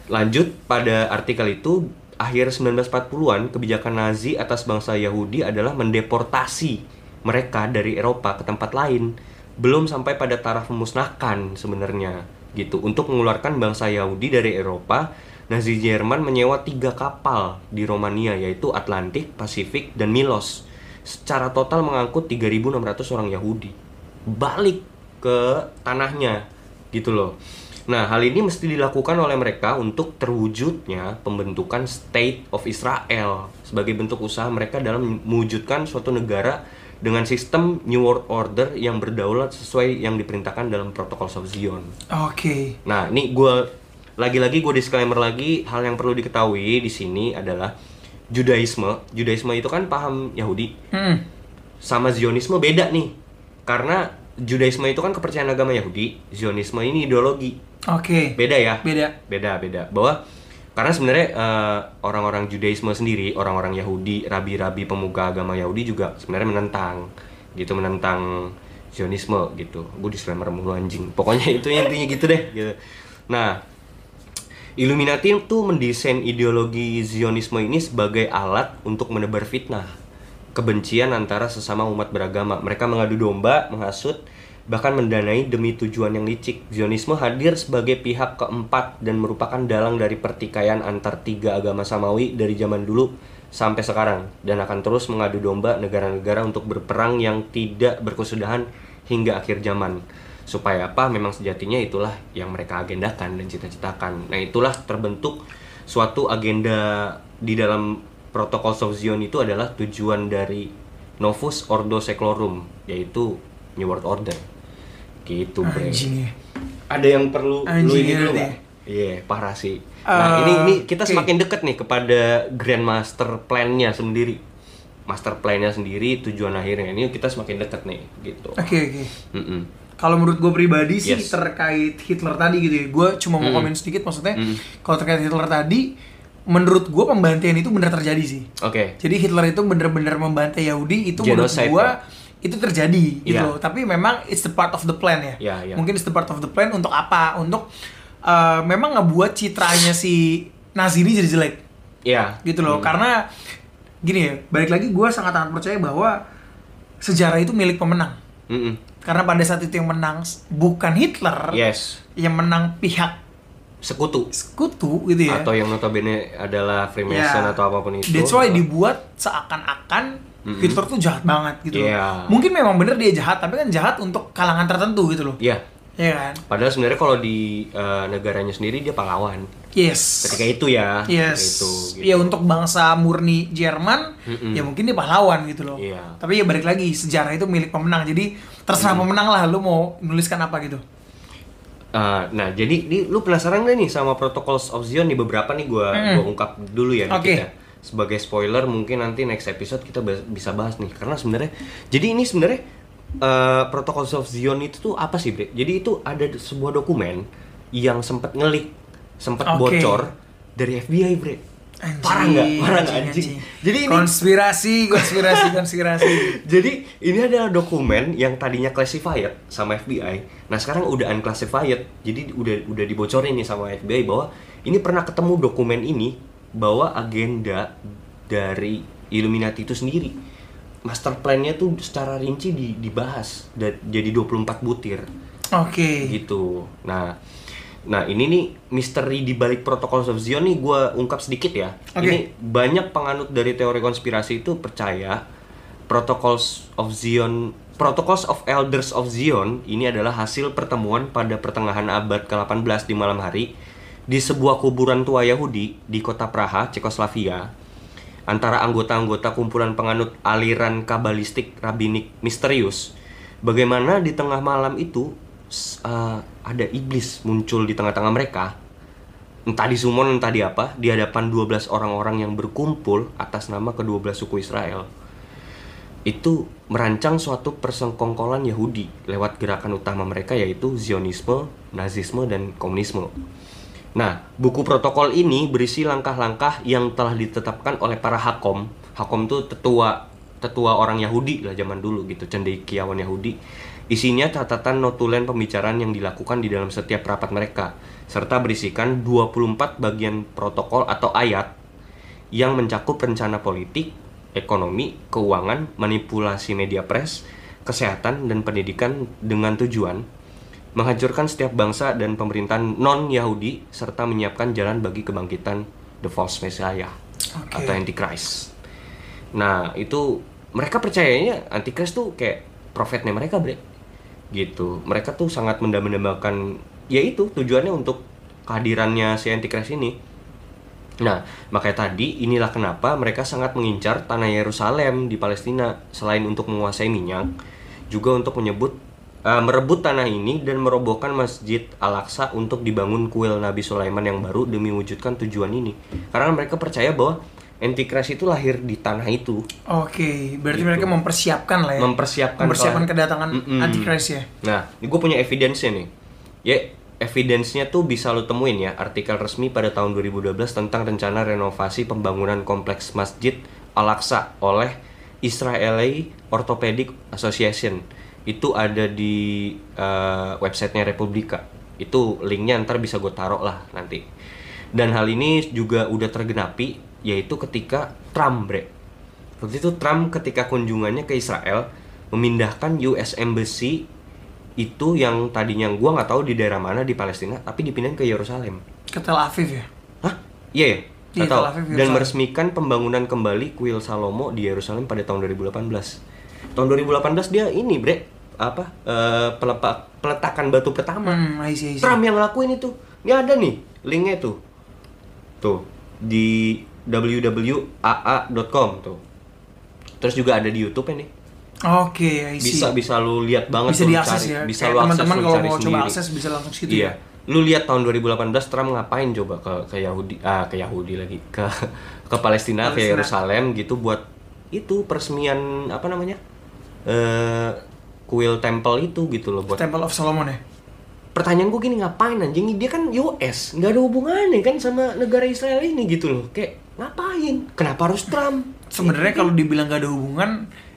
S2: lanjut pada artikel itu akhir 1940-an kebijakan Nazi atas bangsa Yahudi adalah mendeportasi mereka dari Eropa ke tempat lain belum sampai pada taraf memusnahkan sebenarnya gitu untuk mengeluarkan bangsa Yahudi dari Eropa Nazi Jerman menyewa tiga kapal di Romania yaitu Atlantik, Pasifik, dan Milos secara total mengangkut 3.600 orang Yahudi balik ke tanahnya gitu loh. Nah, hal ini mesti dilakukan oleh mereka untuk terwujudnya pembentukan State of Israel sebagai bentuk usaha mereka dalam mewujudkan suatu negara dengan sistem New World Order yang berdaulat sesuai yang diperintahkan dalam protokol South Zion.
S1: Oke.
S2: Nah, ini gue lagi-lagi gue disclaimer lagi hal yang perlu diketahui di sini adalah Judaisme. Judaisme itu kan paham Yahudi
S1: Hmm.
S2: sama Zionisme beda nih. Karena Judaisme itu kan kepercayaan agama Yahudi, Zionisme ini ideologi.
S1: Oke.
S2: Beda ya?
S1: Beda.
S2: Beda, beda. Bahwa karena sebenarnya eh, orang-orang Judaisme sendiri, orang-orang Yahudi, rabi-rabi pemuka agama Yahudi juga sebenarnya menentang gitu menentang Zionisme gitu. Gue disclaimer mulu anjing. Pokoknya itu intinya gitu deh gitu. Nah, Illuminati itu mendesain ideologi Zionisme ini sebagai alat untuk menebar fitnah, kebencian antara sesama umat beragama. Mereka mengadu domba, menghasut, bahkan mendanai demi tujuan yang licik. Zionisme hadir sebagai pihak keempat dan merupakan dalang dari pertikaian antar tiga agama samawi dari zaman dulu sampai sekarang dan akan terus mengadu domba negara-negara untuk berperang yang tidak berkesudahan hingga akhir zaman supaya apa memang sejatinya itulah yang mereka agendakan dan cita-citakan nah itulah terbentuk suatu agenda di dalam protokol South Zion itu adalah tujuan dari Novus Ordo Seclorum yaitu New World Order Gitu, Bre.
S1: Anjing ya.
S2: Ada yang perlu lu
S1: Anjing
S2: ini
S1: ya,
S2: dulu
S1: berarti.
S2: nggak? Iya, parah sih. Nah, ini ini kita
S1: oke.
S2: semakin dekat nih kepada grand master plan-nya sendiri. Master plan-nya sendiri, tujuan akhirnya. Ini kita semakin dekat nih, gitu.
S1: Oke oke.
S2: Mm-mm.
S1: Kalau menurut gue pribadi sih
S2: Yes.
S1: terkait Hitler tadi gitu ya, gue cuma mau komen sedikit maksudnya. Kalau terkait Hitler tadi, menurut gue pembantian itu bener terjadi sih.
S2: Oke.
S1: Jadi Hitler itu bener-bener membantai Yahudi itu
S2: Genocide,
S1: menurut gue itu terjadi gitu
S2: Iya.
S1: loh. Tapi memang it's the part of the plan ya.
S2: Iya, iya.
S1: Mungkin it's the part of the plan untuk apa? Untuk eh, memang ngebuat citranya si Nazi ini jadi jelek
S2: Iya.
S1: gitu loh karena gini ya balik lagi gue sangat sangat percaya bahwa sejarah itu milik pemenang
S2: Mm-mm.
S1: karena pada saat itu yang menang s- bukan Hitler
S2: Yes.
S1: yang menang pihak
S2: Sekutu
S1: sekutu gitu ya
S2: atau yang notabene adalah
S1: Ya.
S2: Freemason atau apapun itu.
S1: that's why dibuat seakan-akan Hitler tuh jahat banget gitu loh.
S2: Iya.
S1: mungkin memang bener dia jahat tapi kan jahat untuk kalangan tertentu gitu loh
S2: Iya.
S1: Iya kan
S2: Padahal sebenarnya kalau di eh, negaranya sendiri dia pahlawan.
S1: yes
S2: Ketika itu ya. ketika
S1: Yes.
S2: Itu. gitu.
S1: Ya untuk bangsa murni Jerman,
S2: Mm-mm.
S1: ya mungkin dia pahlawan gitu loh.
S2: Iya.
S1: Tapi ya balik lagi sejarah itu milik pemenang. Jadi terserah pemenang lah lu mau nuliskan apa gitu.
S2: Eh, nah, jadi di, lu penasaran gak nih sama Protocols of Zion nih beberapa nih gua gua ungkap dulu ya
S1: Hmm. Oke.
S2: kita. Sebagai spoiler mungkin nanti next episode kita bahas- bisa bahas nih karena sebenarnya jadi ini sebenarnya eh, Protocols of Zion itu tuh apa sih, Bre? Jadi itu ada d- sebuah dokumen yang sempat ngelik, sempat
S1: Oke.
S2: bocor dari FBI, Bre.
S1: Anjing,
S2: Parah nggak? Parah nggak, anjing? Jadi ini
S1: konspirasi, konspirasi,
S2: <laughs>
S1: konspirasi.
S2: Jadi ini adalah dokumen yang tadinya classified sama FBI. Nah sekarang udah unclassified. Jadi udah udah dibocorin nih sama FBI bahwa ini pernah ketemu dokumen ini bahwa agenda dari Illuminati itu sendiri. Master plan-nya tuh secara rinci di- dibahas dan jadi 24 butir
S1: Oke.
S2: gitu. Nah, nah ini nih misteri di balik protokol of Zion nih gue ungkap sedikit ya.
S1: Oke.
S2: Ini banyak penganut dari teori konspirasi itu percaya protocols of Zion, protocols of elders of Zion ini adalah hasil pertemuan pada pertengahan abad ke-18 di malam hari di sebuah kuburan tua Yahudi di kota Praha, Cekoslovakia antara anggota-anggota kumpulan penganut aliran kabalistik rabinik misterius. Bagaimana di tengah malam itu s- eh, ada iblis muncul di tengah-tengah mereka. Entah di summon, entah di apa, di hadapan 12 orang-orang yang berkumpul atas nama ke-12 suku Israel. Itu merancang suatu persengkongkolan Yahudi lewat gerakan utama mereka yaitu Zionisme, Nazisme, dan Komunisme. Nah, buku protokol ini berisi langkah-langkah yang telah ditetapkan oleh para hakom. Hakom itu tetua tetua orang Yahudi lah zaman dulu gitu, cendekiawan Yahudi. Isinya catatan notulen pembicaraan yang dilakukan di dalam setiap rapat mereka, serta berisikan 24 bagian protokol atau ayat yang mencakup rencana politik, ekonomi, keuangan, manipulasi media pers, kesehatan, dan pendidikan dengan tujuan menghancurkan setiap bangsa dan pemerintahan non-Yahudi serta menyiapkan jalan bagi kebangkitan the false messiah
S1: Oke.
S2: atau antichrist. Nah, itu mereka percayanya antichrist tuh kayak profetnya mereka, Bre. Gitu. Mereka tuh sangat mendambakan yaitu tujuannya untuk kehadirannya si antichrist ini. Nah, makanya tadi inilah kenapa mereka sangat mengincar tanah Yerusalem di Palestina selain untuk menguasai minyak, juga untuk menyebut eh, merebut tanah ini dan merobohkan Masjid Al-Aqsa untuk dibangun kuil Nabi Sulaiman yang baru demi wujudkan tujuan ini. Karena mereka percaya bahwa Antikris itu lahir di tanah itu.
S1: Oke, berarti
S2: Gitu.
S1: mereka mempersiapkan lah ya.
S2: Mempersiapkan
S1: mempersiapkan
S2: soal-
S1: kedatangan
S2: Mm-mm.
S1: Antichrist ya.
S2: Nah, ini gue punya evidence-nya nih. Ya, evidence-nya tuh bisa lo temuin ya artikel resmi pada tahun 2012 tentang rencana renovasi pembangunan kompleks Masjid Al-Aqsa oleh Israeli Orthopedic Association. Itu ada di eh, websitenya Republika. Itu linknya ntar bisa gue taruh lah nanti. Dan hal ini juga udah tergenapi yaitu ketika Trump, bre. Waktu itu Trump ketika kunjungannya ke Israel memindahkan US Embassy itu yang tadinya gua nggak tahu di daerah mana di Palestina tapi dipindahin ke Yerusalem.
S1: Ke Tel Aviv ya.
S2: Hah? Iya ya? Nggak
S1: Iya,
S2: tahu.
S1: Tel Aviv,
S2: Dan
S1: Yerusalem.
S2: meresmikan pembangunan kembali kuil Salomo di Yerusalem pada tahun 2018. Tahun 2018 dia ini, Bre, apa? eh, pelepa- peletakan batu pertama.
S1: Hmm, I see, I see.
S2: Trump yang ngelakuin itu. Ini ada nih linknya tuh. Tuh di www.aa.com tuh. Terus juga ada di YouTube nih.
S1: Oke, I see.
S2: bisa bisa lu lihat banget
S1: bisa
S2: lu
S1: diakses
S2: cari,
S1: ya.
S2: bisa
S1: Kayak
S2: lu akses
S1: teman-teman
S2: lu
S1: kalau
S2: cari
S1: mau coba
S2: sendiri
S1: akses gitu ya. bisa langsung situ.
S2: iya lu lihat tahun 2018 Trump ngapain coba ke ke Yahudi ah ke Yahudi lagi <laughs> ke ke
S1: Palestina.
S2: Palestina, ke Yerusalem gitu buat itu peresmian apa namanya eh kuil temple itu gitu loh
S1: ya.
S2: buat
S1: Temple of Solomon ya.
S2: pertanyaan gue gini ngapain anjing dia kan US nggak ada hubungannya kan sama negara Israel ini gitu loh kayak ngapain kenapa harus Trump Iya.
S1: Sebenarnya kalau dibilang gak ada hubungan,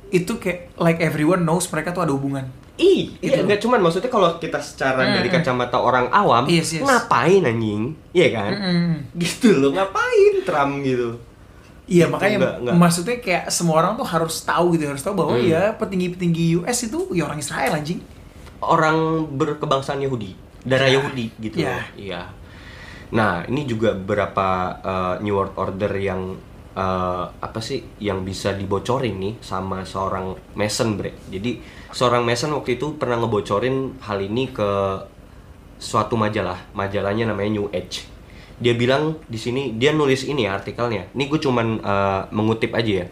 S1: itu kayak like everyone knows mereka tuh ada hubungan.
S2: Ih,
S1: Gitu loh.
S2: iya,
S1: Hmm,
S2: nggak cuman maksudnya kalau kita secara dari kacamata orang awam,
S1: Yes, Hmm, yes.
S2: ngapain anjing? Iya kan?
S1: Mm-mm.
S2: Gitu loh, ngapain Trump gitu.
S1: Mm-hmm. Iya
S2: Gitu,
S1: makanya
S2: nggak- nggak.
S1: maksudnya kayak semua orang tuh harus tahu gitu harus tahu bahwa
S2: Hmm.
S1: ya petinggi-petinggi US itu ya orang Israel anjing.
S2: Orang berkebangsaan Yahudi, darah Yahudi gitu.
S1: Iya.
S2: loh. Iya. Nah, ini juga beberapa eh, New World Order yang eh, apa sih yang bisa dibocorin nih sama seorang Mason, Bre. Jadi, seorang Mason waktu itu pernah ngebocorin hal ini ke suatu majalah. Majalahnya namanya New Age. Dia bilang di sini dia nulis ini ya artikelnya. Ini gue cuman eh, mengutip aja ya.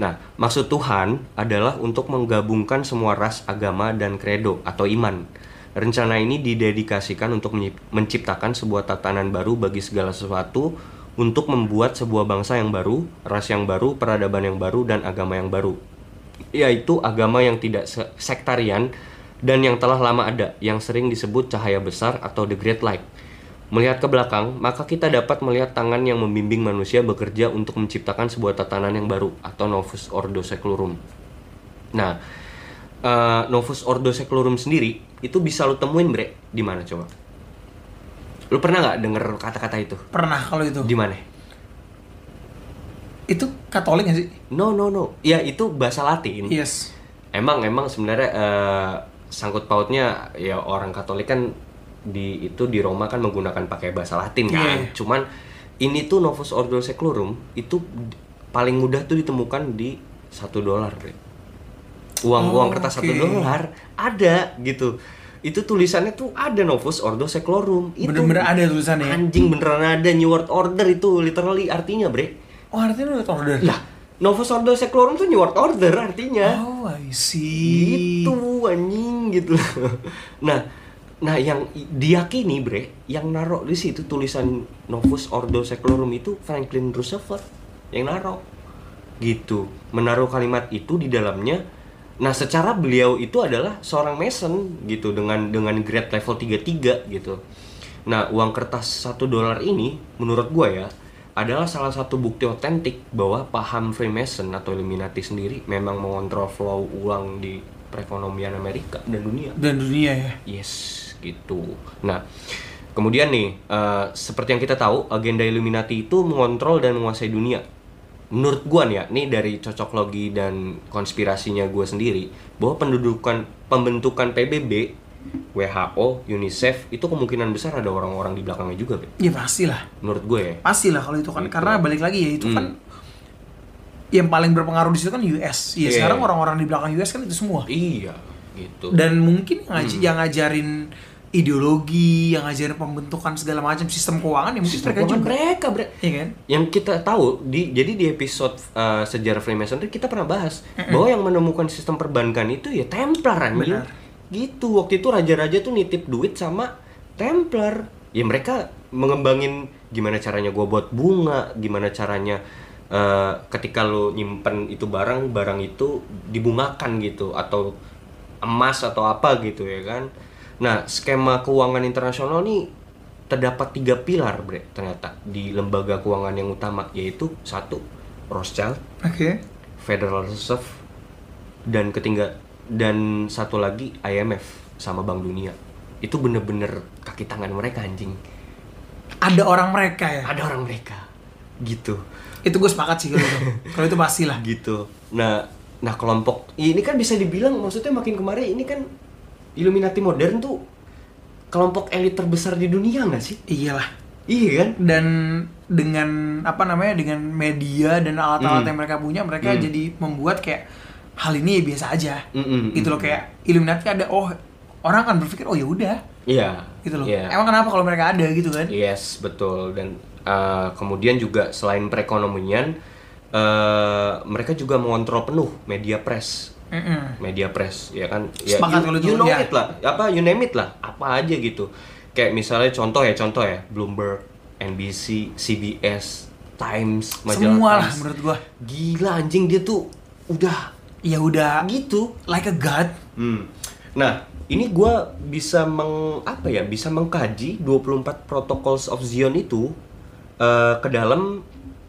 S2: Nah, maksud Tuhan adalah untuk menggabungkan semua ras, agama, dan kredo atau iman. Rencana ini didedikasikan untuk menyip- menciptakan sebuah tatanan baru bagi segala sesuatu untuk membuat sebuah bangsa yang baru, ras yang baru, peradaban yang baru, dan agama yang baru. Yaitu agama yang tidak se- sektarian dan yang telah lama ada, yang sering disebut cahaya besar atau the great light. Melihat ke belakang, maka kita dapat melihat tangan yang membimbing manusia bekerja untuk menciptakan sebuah tatanan yang baru atau novus ordo seclorum. Nah, eh, novus ordo seclorum sendiri itu bisa lo temuin bre di mana coba? Lo pernah nggak denger kata-kata itu?
S1: Pernah kalau itu.
S2: Di mana?
S1: Itu Katolik gak sih?
S2: No no no, ya itu bahasa Latin.
S1: Yes.
S2: Emang emang sebenarnya eh, sangkut pautnya ya orang Katolik kan di itu di Roma kan menggunakan pakai bahasa Latin kan.
S1: Iya.
S2: Cuman ini tuh Novus Ordo Seclorum itu d- paling mudah tuh ditemukan di satu dolar, Bre. Uang uang
S1: Oh,
S2: kertas
S1: oke.
S2: satu dolar ada gitu. Itu tulisannya tuh ada Novus Ordo Seclorum. Itu
S1: Bener-bener ada tulisannya ya?
S2: Anjing beneran ada New World Order itu literally artinya, Bre.
S1: Oh artinya udah order.
S2: Lah, Novus Ordo Seclorum tuh New World Order artinya
S1: Oh I see.
S2: Ya. gitu anjing gitu <laughs> nah nah yang i- diyakini bre yang narok di situ tulisan Novus Ordo Seclorum itu Franklin Roosevelt yang narok gitu menaruh kalimat itu di dalamnya nah secara beliau itu adalah seorang Mason gitu dengan dengan grade level 33 gitu nah uang kertas satu dolar ini menurut gua ya adalah salah satu bukti otentik bahwa paham Freemason atau Illuminati sendiri memang mengontrol flow uang di perekonomian Amerika dan dunia.
S1: Dan dunia ya.
S2: Yes, gitu. Nah, kemudian nih, eh, seperti yang kita tahu, agenda Illuminati itu mengontrol dan menguasai dunia. Menurut gua nih ya, nih dari cocok logi dan konspirasinya gua sendiri, bahwa pendudukan pembentukan PBB, WHO, UNICEF itu kemungkinan besar ada orang-orang di belakangnya juga, Be.
S1: Ya pastilah.
S2: Menurut gue ya.
S1: Pastilah kalau itu kan
S2: Gitu.
S1: karena balik lagi ya itu
S2: Hmm.
S1: kan yang paling berpengaruh di situ kan US. Ya
S2: Iya.
S1: sekarang orang-orang di belakang US kan itu semua.
S2: Iya, gitu.
S1: dan mungkin yang,
S2: Hmm.
S1: ngaj- yang ngajarin ideologi, yang ngajarin pembentukan segala macam sistem keuangan ya mungkin
S2: Sistem
S1: mereka
S2: keuangan
S1: juga.
S2: mereka, Bre.
S1: Iya kan?
S2: Yang kita tahu di jadi di episode uh, sejarah Freemasonry kita pernah bahas bahwa yang menemukan sistem perbankan itu ya Templar anjing.
S1: Benar.
S2: Gitu. Waktu itu raja-raja tuh nitip duit sama Templar. Ya mereka mengembangin gimana caranya gua buat bunga, gimana caranya uh, ketika lo nyimpen itu barang, barang itu dibungakan gitu atau emas atau apa gitu ya kan. Nah, skema keuangan internasional nih terdapat tiga pilar bre ternyata di lembaga keuangan yang utama yaitu satu Rothschild,
S1: Oke.
S2: Federal Reserve dan ketiga dan satu lagi IMF sama Bank Dunia itu bener-bener kaki tangan mereka anjing
S1: Ada orang mereka ya.
S2: ada orang mereka gitu
S1: Itu gue sepakat sih
S2: <laughs>
S1: kalau itu. kalau itu pastilah.
S2: gitu nah nah kelompok ini kan bisa dibilang maksudnya makin kemari ini kan Illuminati modern tuh kelompok elit terbesar di dunia nggak sih
S1: Iyalah.
S2: iya kan
S1: Dan dengan apa namanya dengan media dan alat-alat
S2: Hmm.
S1: yang mereka punya, mereka
S2: Hmm.
S1: jadi membuat kayak hal ini ya biasa aja.
S2: Mm-mm,
S1: Gitu loh
S2: mm-mm.
S1: kayak Illuminati ada oh orang kan berpikir oh ya udah
S2: iya
S1: gitu loh.
S2: iya.
S1: Emang kenapa kalau mereka ada gitu kan?
S2: Yes, betul. Dan uh, kemudian juga eh, selain perekonomian, uh, mereka juga mengontrol penuh media press.
S1: Mm-mm.
S2: media press ya kan
S1: Sepakat kalau itu,
S2: you, you know
S1: ya.
S2: it lah apa you name it lah apa aja gitu kayak misalnya contoh ya contoh ya Bloomberg NBC CBS Times majalah
S1: Semua lah
S2: Times.
S1: menurut gua.
S2: gila anjing dia tuh udah
S1: Ya udah
S2: gitu
S1: like a god.
S2: Hmm. Nah, ini gua bisa meng apa ya? Bisa mengkaji 24 protocols of Zion itu eh, ke dalam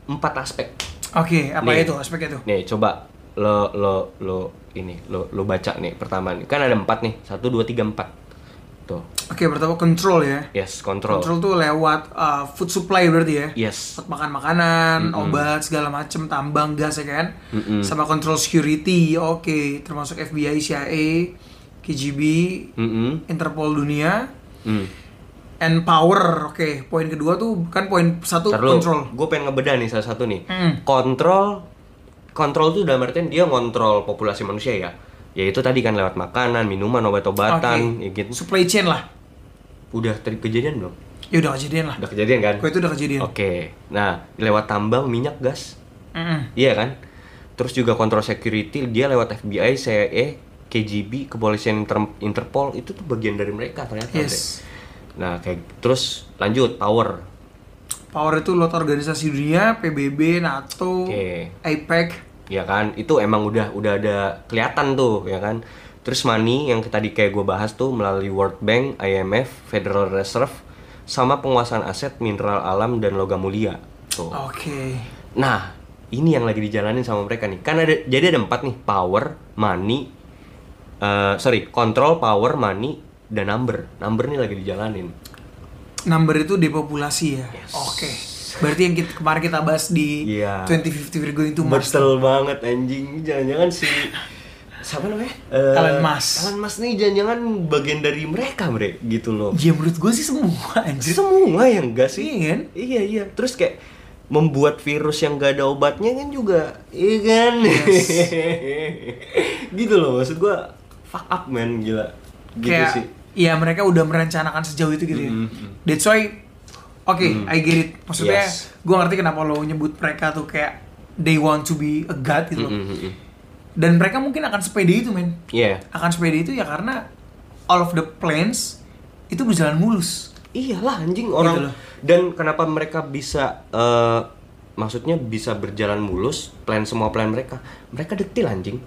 S2: empat aspek.
S1: Oke, apa
S2: Nih.
S1: itu aspeknya itu?
S2: Nih, coba lo lo lo ini lo lo baca nih pertama nih. Kan ada empat nih. Satu, dua, tiga, empat. Tuh.
S1: Oke, pertama control ya.
S2: Yes, control.
S1: Control tuh lewat uh, food supply berarti ya.
S2: Yes.
S1: Makan makanan, obat segala macem, tambang gas ya kan.
S2: Mm-mm.
S1: Sama control security. Oke, termasuk FBI, CIA, KGB,
S2: Mm-mm.
S1: Interpol dunia,
S2: Mm.
S1: and power. Oke, poin kedua tuh kan poin satu
S2: Ntar lu,
S1: control.
S2: Gue pengen ngebedah nih salah satu nih.
S1: Mm.
S2: Kontrol, kontrol tuh dalam artian dia ngontrol populasi manusia ya. Yaitu tadi kan lewat makanan, minuman, obat-obatan, ya
S1: Oke.
S2: gitu.
S1: Supply chain lah.
S2: Udah ter- kejadian belum?
S1: Ya udah kejadian lah.
S2: Udah kejadian kan?
S1: Gue itu udah kejadian.
S2: Oke. Nah, lewat tambang, minyak, gas.
S1: Mm-mm.
S2: Iya kan? Terus juga kontrol security dia lewat FBI, CIA, KGB, kepolisian Inter- Interpol itu tuh bagian dari mereka ternyata.
S1: Yes.
S2: Dre. Nah, kayak terus lanjut power.
S1: Power itu lot organisasi dunia, PBB, NATO, E
S2: Oke.
S1: APEC.
S2: ya kan itu emang udah udah ada kelihatan tuh ya kan terus money yang tadi kayak gue bahas tuh melalui World Bank, IMF, Federal Reserve sama penguasaan aset mineral alam dan logam mulia tuh
S1: Oke.
S2: nah ini yang lagi dijalanin sama mereka nih kan ada jadi ada empat nih power money eh sorry control power money dan number number nih lagi dijalanin
S1: Number itu depopulasi ya. Oke. Berarti yang kita, kemarin kita bahas di
S2: Iya.
S1: 2050 we're going to Mars.
S2: Betul banget anjing. Jangan-jangan si siapa namanya? Eh,
S1: Elon Musk.
S2: Elon Musk nih jangan-jangan bagian dari mereka, Bre, gitu loh.
S1: Ya menurut gue sih semua anjir.
S2: Semua yang ya, enggak
S1: Iya
S2: sih?
S1: kan?
S2: Iya, iya. Terus kayak membuat virus yang gak ada obatnya kan juga iya kan <laughs> gitu loh maksud gua fuck up man gila gitu
S1: Kayak,
S2: sih Mm-hmm,
S1: Ya mereka udah merencanakan sejauh itu gitu ya. That's why Oke, I get it. Maksudnya
S2: Yes.
S1: gue ngerti kenapa lo nyebut mereka tuh kayak they want to be a god gitu loh.
S2: Mm-mm.
S1: Dan mereka mungkin akan sepede itu, men.
S2: Iya.
S1: Akan sepede itu ya karena all of the plans itu berjalan mulus.
S2: Iyalah anjing orang
S1: Gitu loh.
S2: dan kenapa mereka bisa eh, maksudnya bisa berjalan mulus plan semua plan mereka. Mereka detil anjing.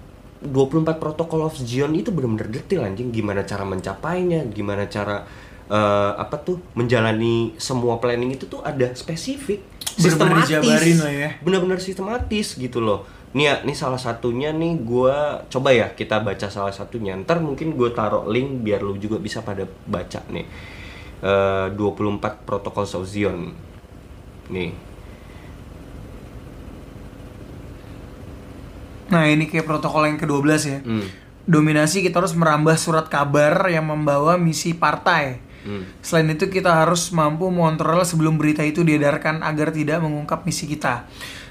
S2: 24 protokol of Zion itu benar-benar detil anjing gimana cara mencapainya, gimana cara eh, apa tuh menjalani semua planning itu tuh ada spesifik
S1: Bener-bener
S2: sistematis.
S1: dijabarin lah ya.
S2: Benar-benar sistematis gitu loh. Nih ya, nih salah satunya nih gua coba ya kita baca salah satunya. Ntar mungkin gue taruh link biar lu juga bisa pada baca nih. Eh, 24 protokol of Zion. Nih.
S1: Nah, ini kayak protokol yang ke-12 ya.
S2: Hmm.
S1: Dominasi kita harus merambah surat kabar yang membawa misi partai.
S2: Hmm.
S1: Selain itu kita harus mampu mengontrol sebelum berita itu diedarkan agar tidak mengungkap misi kita.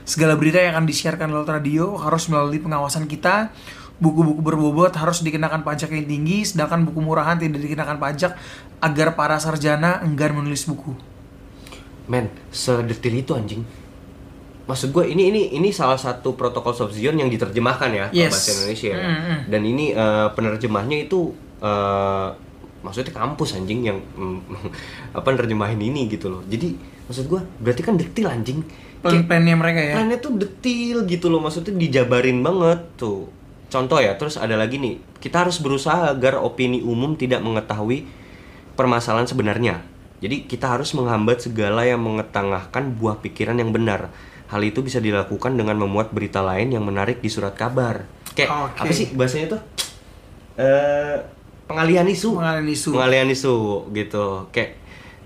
S1: Segala berita yang akan disiarkan lewat radio harus melalui pengawasan kita. Buku-buku berbobot harus dikenakan pajak yang tinggi, sedangkan buku murahan tidak dikenakan pajak agar para sarjana enggan menulis buku.
S2: Men, sedetil itu anjing. Maksud gue ini ini ini salah satu protokol of Zion yang diterjemahkan ya ke
S1: Yes.
S2: bahasa Indonesia. ya.
S1: Mm, mm.
S2: Dan ini eh, penerjemahnya itu eh, maksudnya kampus anjing yang mm, <laughs> apa nerjemahin ini gitu loh. Jadi maksud gue berarti kan detil anjing. Kayak
S1: Plan-plannya mereka ya.
S2: plannya tuh detil gitu loh maksudnya dijabarin banget tuh. Contoh ya, terus ada lagi nih. Kita harus berusaha agar opini umum tidak mengetahui permasalahan sebenarnya. Jadi kita harus menghambat segala yang mengetengahkan buah pikiran yang benar. Hal itu bisa dilakukan dengan memuat berita lain yang menarik di surat kabar. Kayak
S1: Oke.
S2: apa sih bahasanya tuh? Eh pengalihan isu
S1: Pengalihan isu.
S2: pengalian isu gitu kayak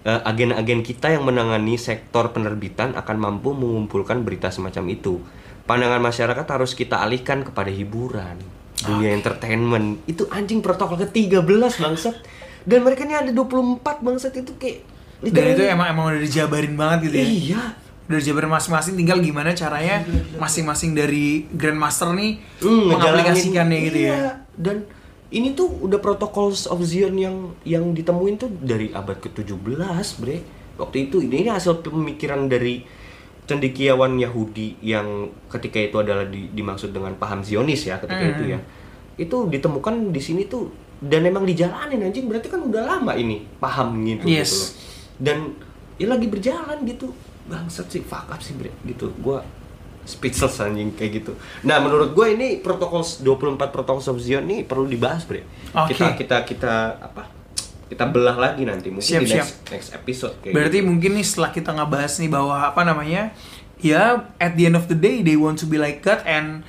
S2: eh, agen-agen kita yang menangani sektor penerbitan akan mampu mengumpulkan berita semacam itu pandangan masyarakat harus kita alihkan kepada hiburan dunia entertainment itu anjing protokol ke-13 bangsat dan mereka ini ada 24 bangsat itu kayak
S1: Dan itu
S2: literally-
S1: emang emang udah dijabarin banget gitu ya.
S2: iya
S1: Udah dijabarin masing-masing tinggal gimana caranya masing-masing dari grandmaster nih
S2: Hmm,
S1: mengaplikasikannya
S2: ngejalanin.
S1: gitu
S2: Iya,
S1: ya.
S2: Dan ini tuh udah protokol of Zion yang yang ditemuin tuh dari abad ke-17, Bre. Waktu itu ini, ini hasil pemikiran dari
S1: Hmm.
S2: cendekiawan Yahudi yang ketika itu adalah di- dimaksud dengan paham Zionis ya ketika itu ya. itu ditemukan di sini tuh dan emang dijalanin anjing berarti kan udah lama ini paham gitu
S1: Yes.
S2: gitu loh. dan ya lagi berjalan gitu bangsat sih fuck up sih bre gitu gua speechless anjing kayak gitu nah menurut gua ini protokol 24 protokol subsidi ini perlu dibahas bre
S1: Oke.
S2: kita kita kita apa kita belah lagi nanti mungkin
S1: Siap,
S2: di
S1: siap.
S2: next, next episode kayak
S1: Berarti
S2: gitu.
S1: mungkin nih setelah kita ngebahas nih bahwa apa namanya ya at the end of the day they want to be like that and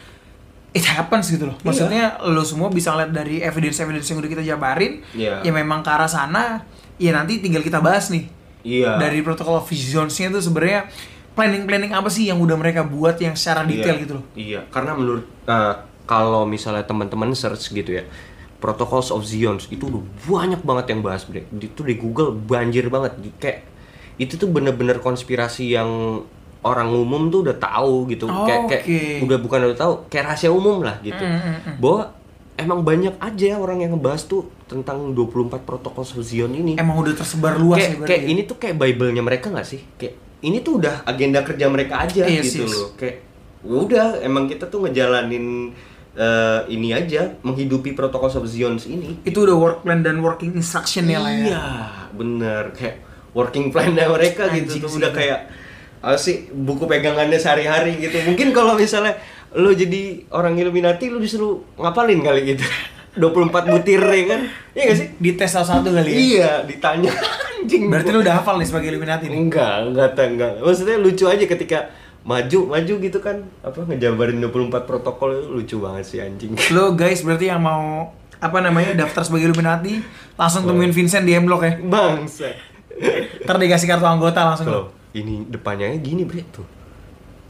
S1: it happens gitu loh.
S2: Iya.
S1: Maksudnya lo semua bisa ngeliat dari evidence evidence yang udah kita jabarin
S2: Iya.
S1: ya memang ke arah sana ya nanti tinggal kita bahas nih.
S2: Iya.
S1: Dari protokol of visionsnya itu sebenarnya planning-planning apa sih yang udah mereka buat yang secara detail
S2: Iya,
S1: gitu loh.
S2: Iya, karena menurut eh, kalau misalnya teman-teman search gitu ya, Protocols of Zions itu udah banyak banget yang bahas, Bre. Itu di Google banjir banget. Di- Kayak itu tuh bener-bener konspirasi yang orang umum tuh udah tahu gitu.
S1: Oh,
S2: kayak kayak
S1: oke.
S2: udah bukan udah tahu, kayak rahasia umum lah gitu.
S1: Mm, mm, mm.
S2: Bahwa emang banyak aja orang yang ngebahas tuh tentang 24 Protocols of Zion ini
S1: Emang udah tersebar luas ya
S2: kayak,
S1: berarti
S2: kayak
S1: ya.
S2: ini tuh kayak bible-nya mereka nggak sih kayak ini tuh udah agenda kerja mereka aja
S1: Iya sih.
S2: gitu loh kayak udah emang kita tuh ngejalanin eh, ini aja menghidupi protokol of Zions ini
S1: itu udah work plan dan working instruction ya lah ya.
S2: iya bener kayak working plan-nya mereka
S1: Anjing
S2: gitu tuh
S1: sih
S2: udah
S1: itu.
S2: kayak apa sih buku pegangannya sehari-hari gitu mungkin kalau misalnya lo jadi orang Illuminati lo disuruh ngapalin kali gitu <laughs> 24 butir ya kan iya gak sih
S1: Di tes satu-satu kali ya.
S2: iya ditanya <laughs> anjing
S1: Berarti lu udah hafal nih sebagai Illuminati nih.
S2: Enggak, enggak, Tan, enggak. Maksudnya lucu aja ketika maju, maju gitu kan. Apa ngejabarin 24 protokol itu lucu banget sih anjing. <laughs>
S1: Lo guys berarti yang mau apa namanya daftar sebagai Illuminati langsung temuin Vincent di M-Block ya.
S2: Bangsa.
S1: Ntar dikasih kartu anggota langsung.
S2: Kalau ini depannya gini, Bre, tuh.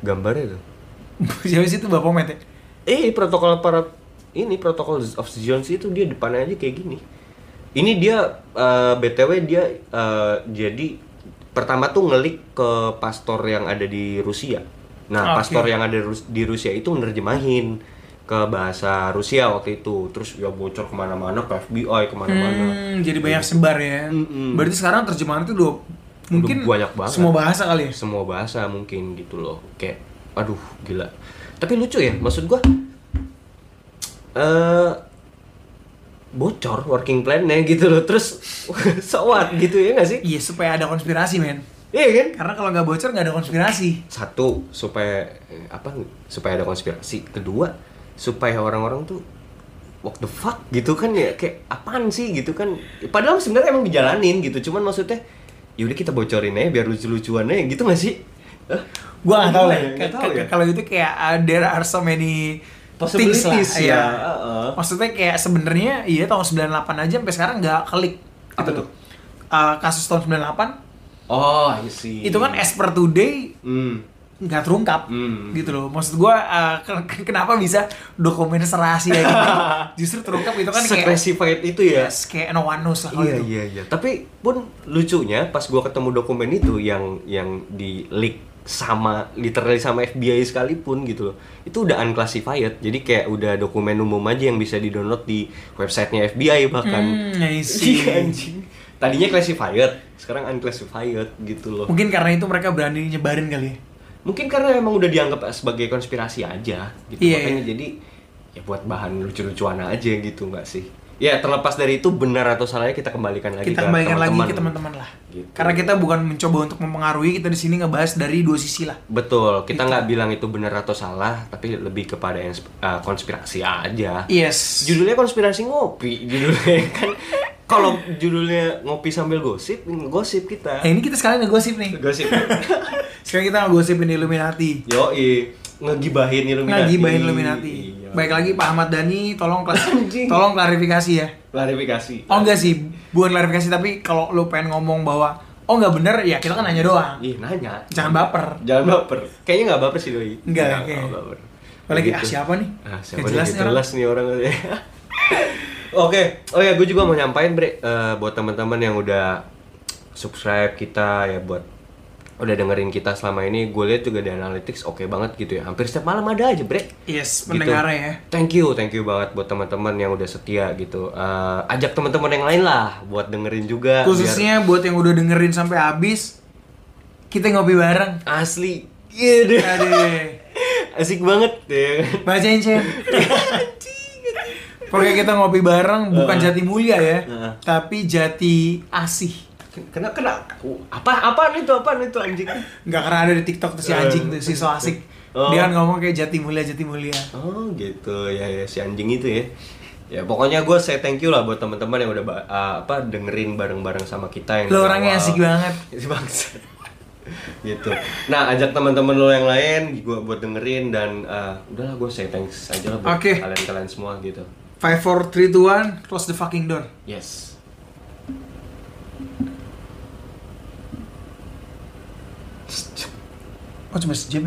S2: Gambarnya tuh.
S1: <laughs> Siapa sih itu Bapak Met ya?
S2: Eh, protokol para ini protokol of Jones itu dia depannya aja kayak gini. Ini dia eh, BTW dia eh, jadi pertama tuh ngelik ke pastor yang ada di Rusia.
S1: Oke.
S2: Nah, pastor yang ada di Rus- di Rusia itu nerjemahin ke bahasa Rusia waktu itu. Terus ya bocor kemana-mana ke FBI kemana-mana.
S1: Hmm, jadi banyak sebar ya.
S2: Mm-mm.
S1: Berarti sekarang terjemahan itu udah mungkin
S2: banyak banget.
S1: semua bahasa kali ya.
S2: Semua bahasa mungkin gitu loh. Kayak aduh gila. Tapi lucu ya, maksud gua eh bocor working plan-nya gitu loh. Terus <laughs> sewat gitu ya nggak sih?
S1: Iya supaya ada konspirasi men.
S2: Iya kan?
S1: Karena kalau nggak bocor nggak ada konspirasi.
S2: Satu supaya eh, apa? Supaya ada konspirasi. Kedua, supaya orang-orang tuh what the fuck gitu kan ya kayak apaan sih gitu kan padahal sebenarnya emang dijalanin gitu cuman maksudnya yaudah kita bocorin aja biar lucu-lucuan aja gitu nggak sih Hah?
S1: Gua Oh, iya, nggak tahu lah.
S2: Nggak
S1: Kayak-
S2: tahu ya.
S1: kayak- Kalau itu kayak uh, there are so many things lah. Iya.
S2: Possibilities ya, uh-uh.
S1: Maksudnya kayak sebenarnya iya tahun 98 aja sampai sekarang nggak klik.
S2: Apa
S1: Gitu.
S2: tuh?
S1: Uh, kasus tahun 98
S2: Oh, I see.
S1: itu kan as per today
S2: Hmm.
S1: nggak terungkap
S2: Hmm.
S1: gitu loh maksud gua uh, ken- ken- kenapa bisa dokumen serasi ya
S2: <laughs>
S1: gitu justru terungkap itu kan kayak
S2: Seclassified itu ya.
S1: yes, kayak no one knows lah kalau
S2: Iya
S1: itu.
S2: iya iya. Tapi pun lucunya pas gua ketemu dokumen itu yang yang di leak sama literally sama FBI sekalipun gitu loh. Itu udah unclassified. Jadi kayak udah dokumen umum aja yang bisa di-download di websitenya FBI bahkan.
S1: Hmm, I see.
S2: <laughs> Iya, anjing. Tadinya classified, sekarang unclassified gitu loh.
S1: mungkin karena itu mereka berani nyebarin kali ya
S2: Mungkin karena emang udah dianggap sebagai konspirasi aja gitu.
S1: Iya,
S2: Makanya
S1: iya.
S2: jadi ya buat bahan lucu-lucuan aja gitu nggak sih? Ya terlepas dari itu benar atau salahnya kita kembalikan lagi
S1: kita
S2: ke
S1: kembalikan lagi
S2: teman-teman.
S1: ke teman-teman lah
S2: Gitu.
S1: karena kita bukan mencoba untuk mempengaruhi kita di sini ngebahas dari dua sisi lah
S2: Betul, kita
S1: Gitu.
S2: nggak bilang itu benar atau salah, tapi lebih kepada yang sp- eh, konspirasi aja.
S1: yes
S2: Judulnya konspirasi ngopi, judulnya <laughs> kan. Kalau judulnya ngopi sambil gosip, gosip kita.
S1: nah, ini kita sekalian ngegosip nih
S2: Gosip.
S1: <laughs> sekarang kita ngegosipin Illuminati
S2: Yoi, ngegibahin Illuminati.
S1: ngegibahin Illuminati
S2: Iya.
S1: baik lagi Pak Ahmad Dhani tolong kelas
S2: Anjing.
S1: tolong klarifikasi ya
S2: Klarifikasi.
S1: Oh enggak sih, bukan klarifikasi tapi kalau lu pengen ngomong bahwa oh enggak bener ya kita kan nanya doang.
S2: Ih, nanya.
S1: Jangan baper.
S2: Jangan baper. Kayaknya nggak baper sih doi.
S1: Enggak,
S2: Nggak,
S1: oke.
S2: nggak baper.
S1: Apalagi
S2: Gitu.
S1: ah siapa nih?
S2: Ah, siapa
S1: Nggak
S2: nih?
S1: jelas
S2: Nggak
S1: nih orang.
S2: jelas nih orang. <laughs> Oke, oh ya gue juga mau nyampain Bre Eh, buat teman-teman yang udah subscribe kita ya buat udah dengerin kita selama ini gue lihat juga di analytics oke banget gitu ya hampir setiap malam ada aja Bre
S1: Yes,
S2: Gitu.
S1: pendengarnya ya.
S2: Thank you, thank you banget buat teman-teman yang udah setia gitu. Eh, ajak teman-teman yang lain lah buat dengerin juga. biar-
S1: Khususnya buat yang udah dengerin sampai habis, kita ngopi bareng.
S2: asli, iya deh.
S1: Aduh.
S2: asik banget ya. kan?
S1: Bacain, Cen. Pokoknya kita ngopi bareng bukan
S2: Heeh.
S1: jati mulia ya,
S2: Heeh.
S1: tapi jati asih.
S2: Kena kena apa apaan itu apaan itu anjing?
S1: Nggak karena ada di TikTok tuh si
S2: Eh.
S1: anjing tuh si so asik.
S2: Oh.
S1: Dia kan ngomong kayak jati mulia jati mulia.
S2: Oh gitu ya ya si anjing itu ya. Ya pokoknya gue say thank you lah buat teman-teman yang udah ba- ah, apa dengerin bareng-bareng sama kita yang
S1: Lo
S2: dari
S1: orangnya
S2: awal.
S1: asik banget.
S2: Si bangsa. <laughs> gitu. Nah, ajak teman-teman lo yang lain gua buat dengerin dan eh, udahlah gue say thanks aja lah buat
S1: Oke.
S2: kalian-kalian semua gitu.
S1: Five, four, three, two, one, close the fucking door.
S2: Yes.
S1: Oh cuma sejam ya?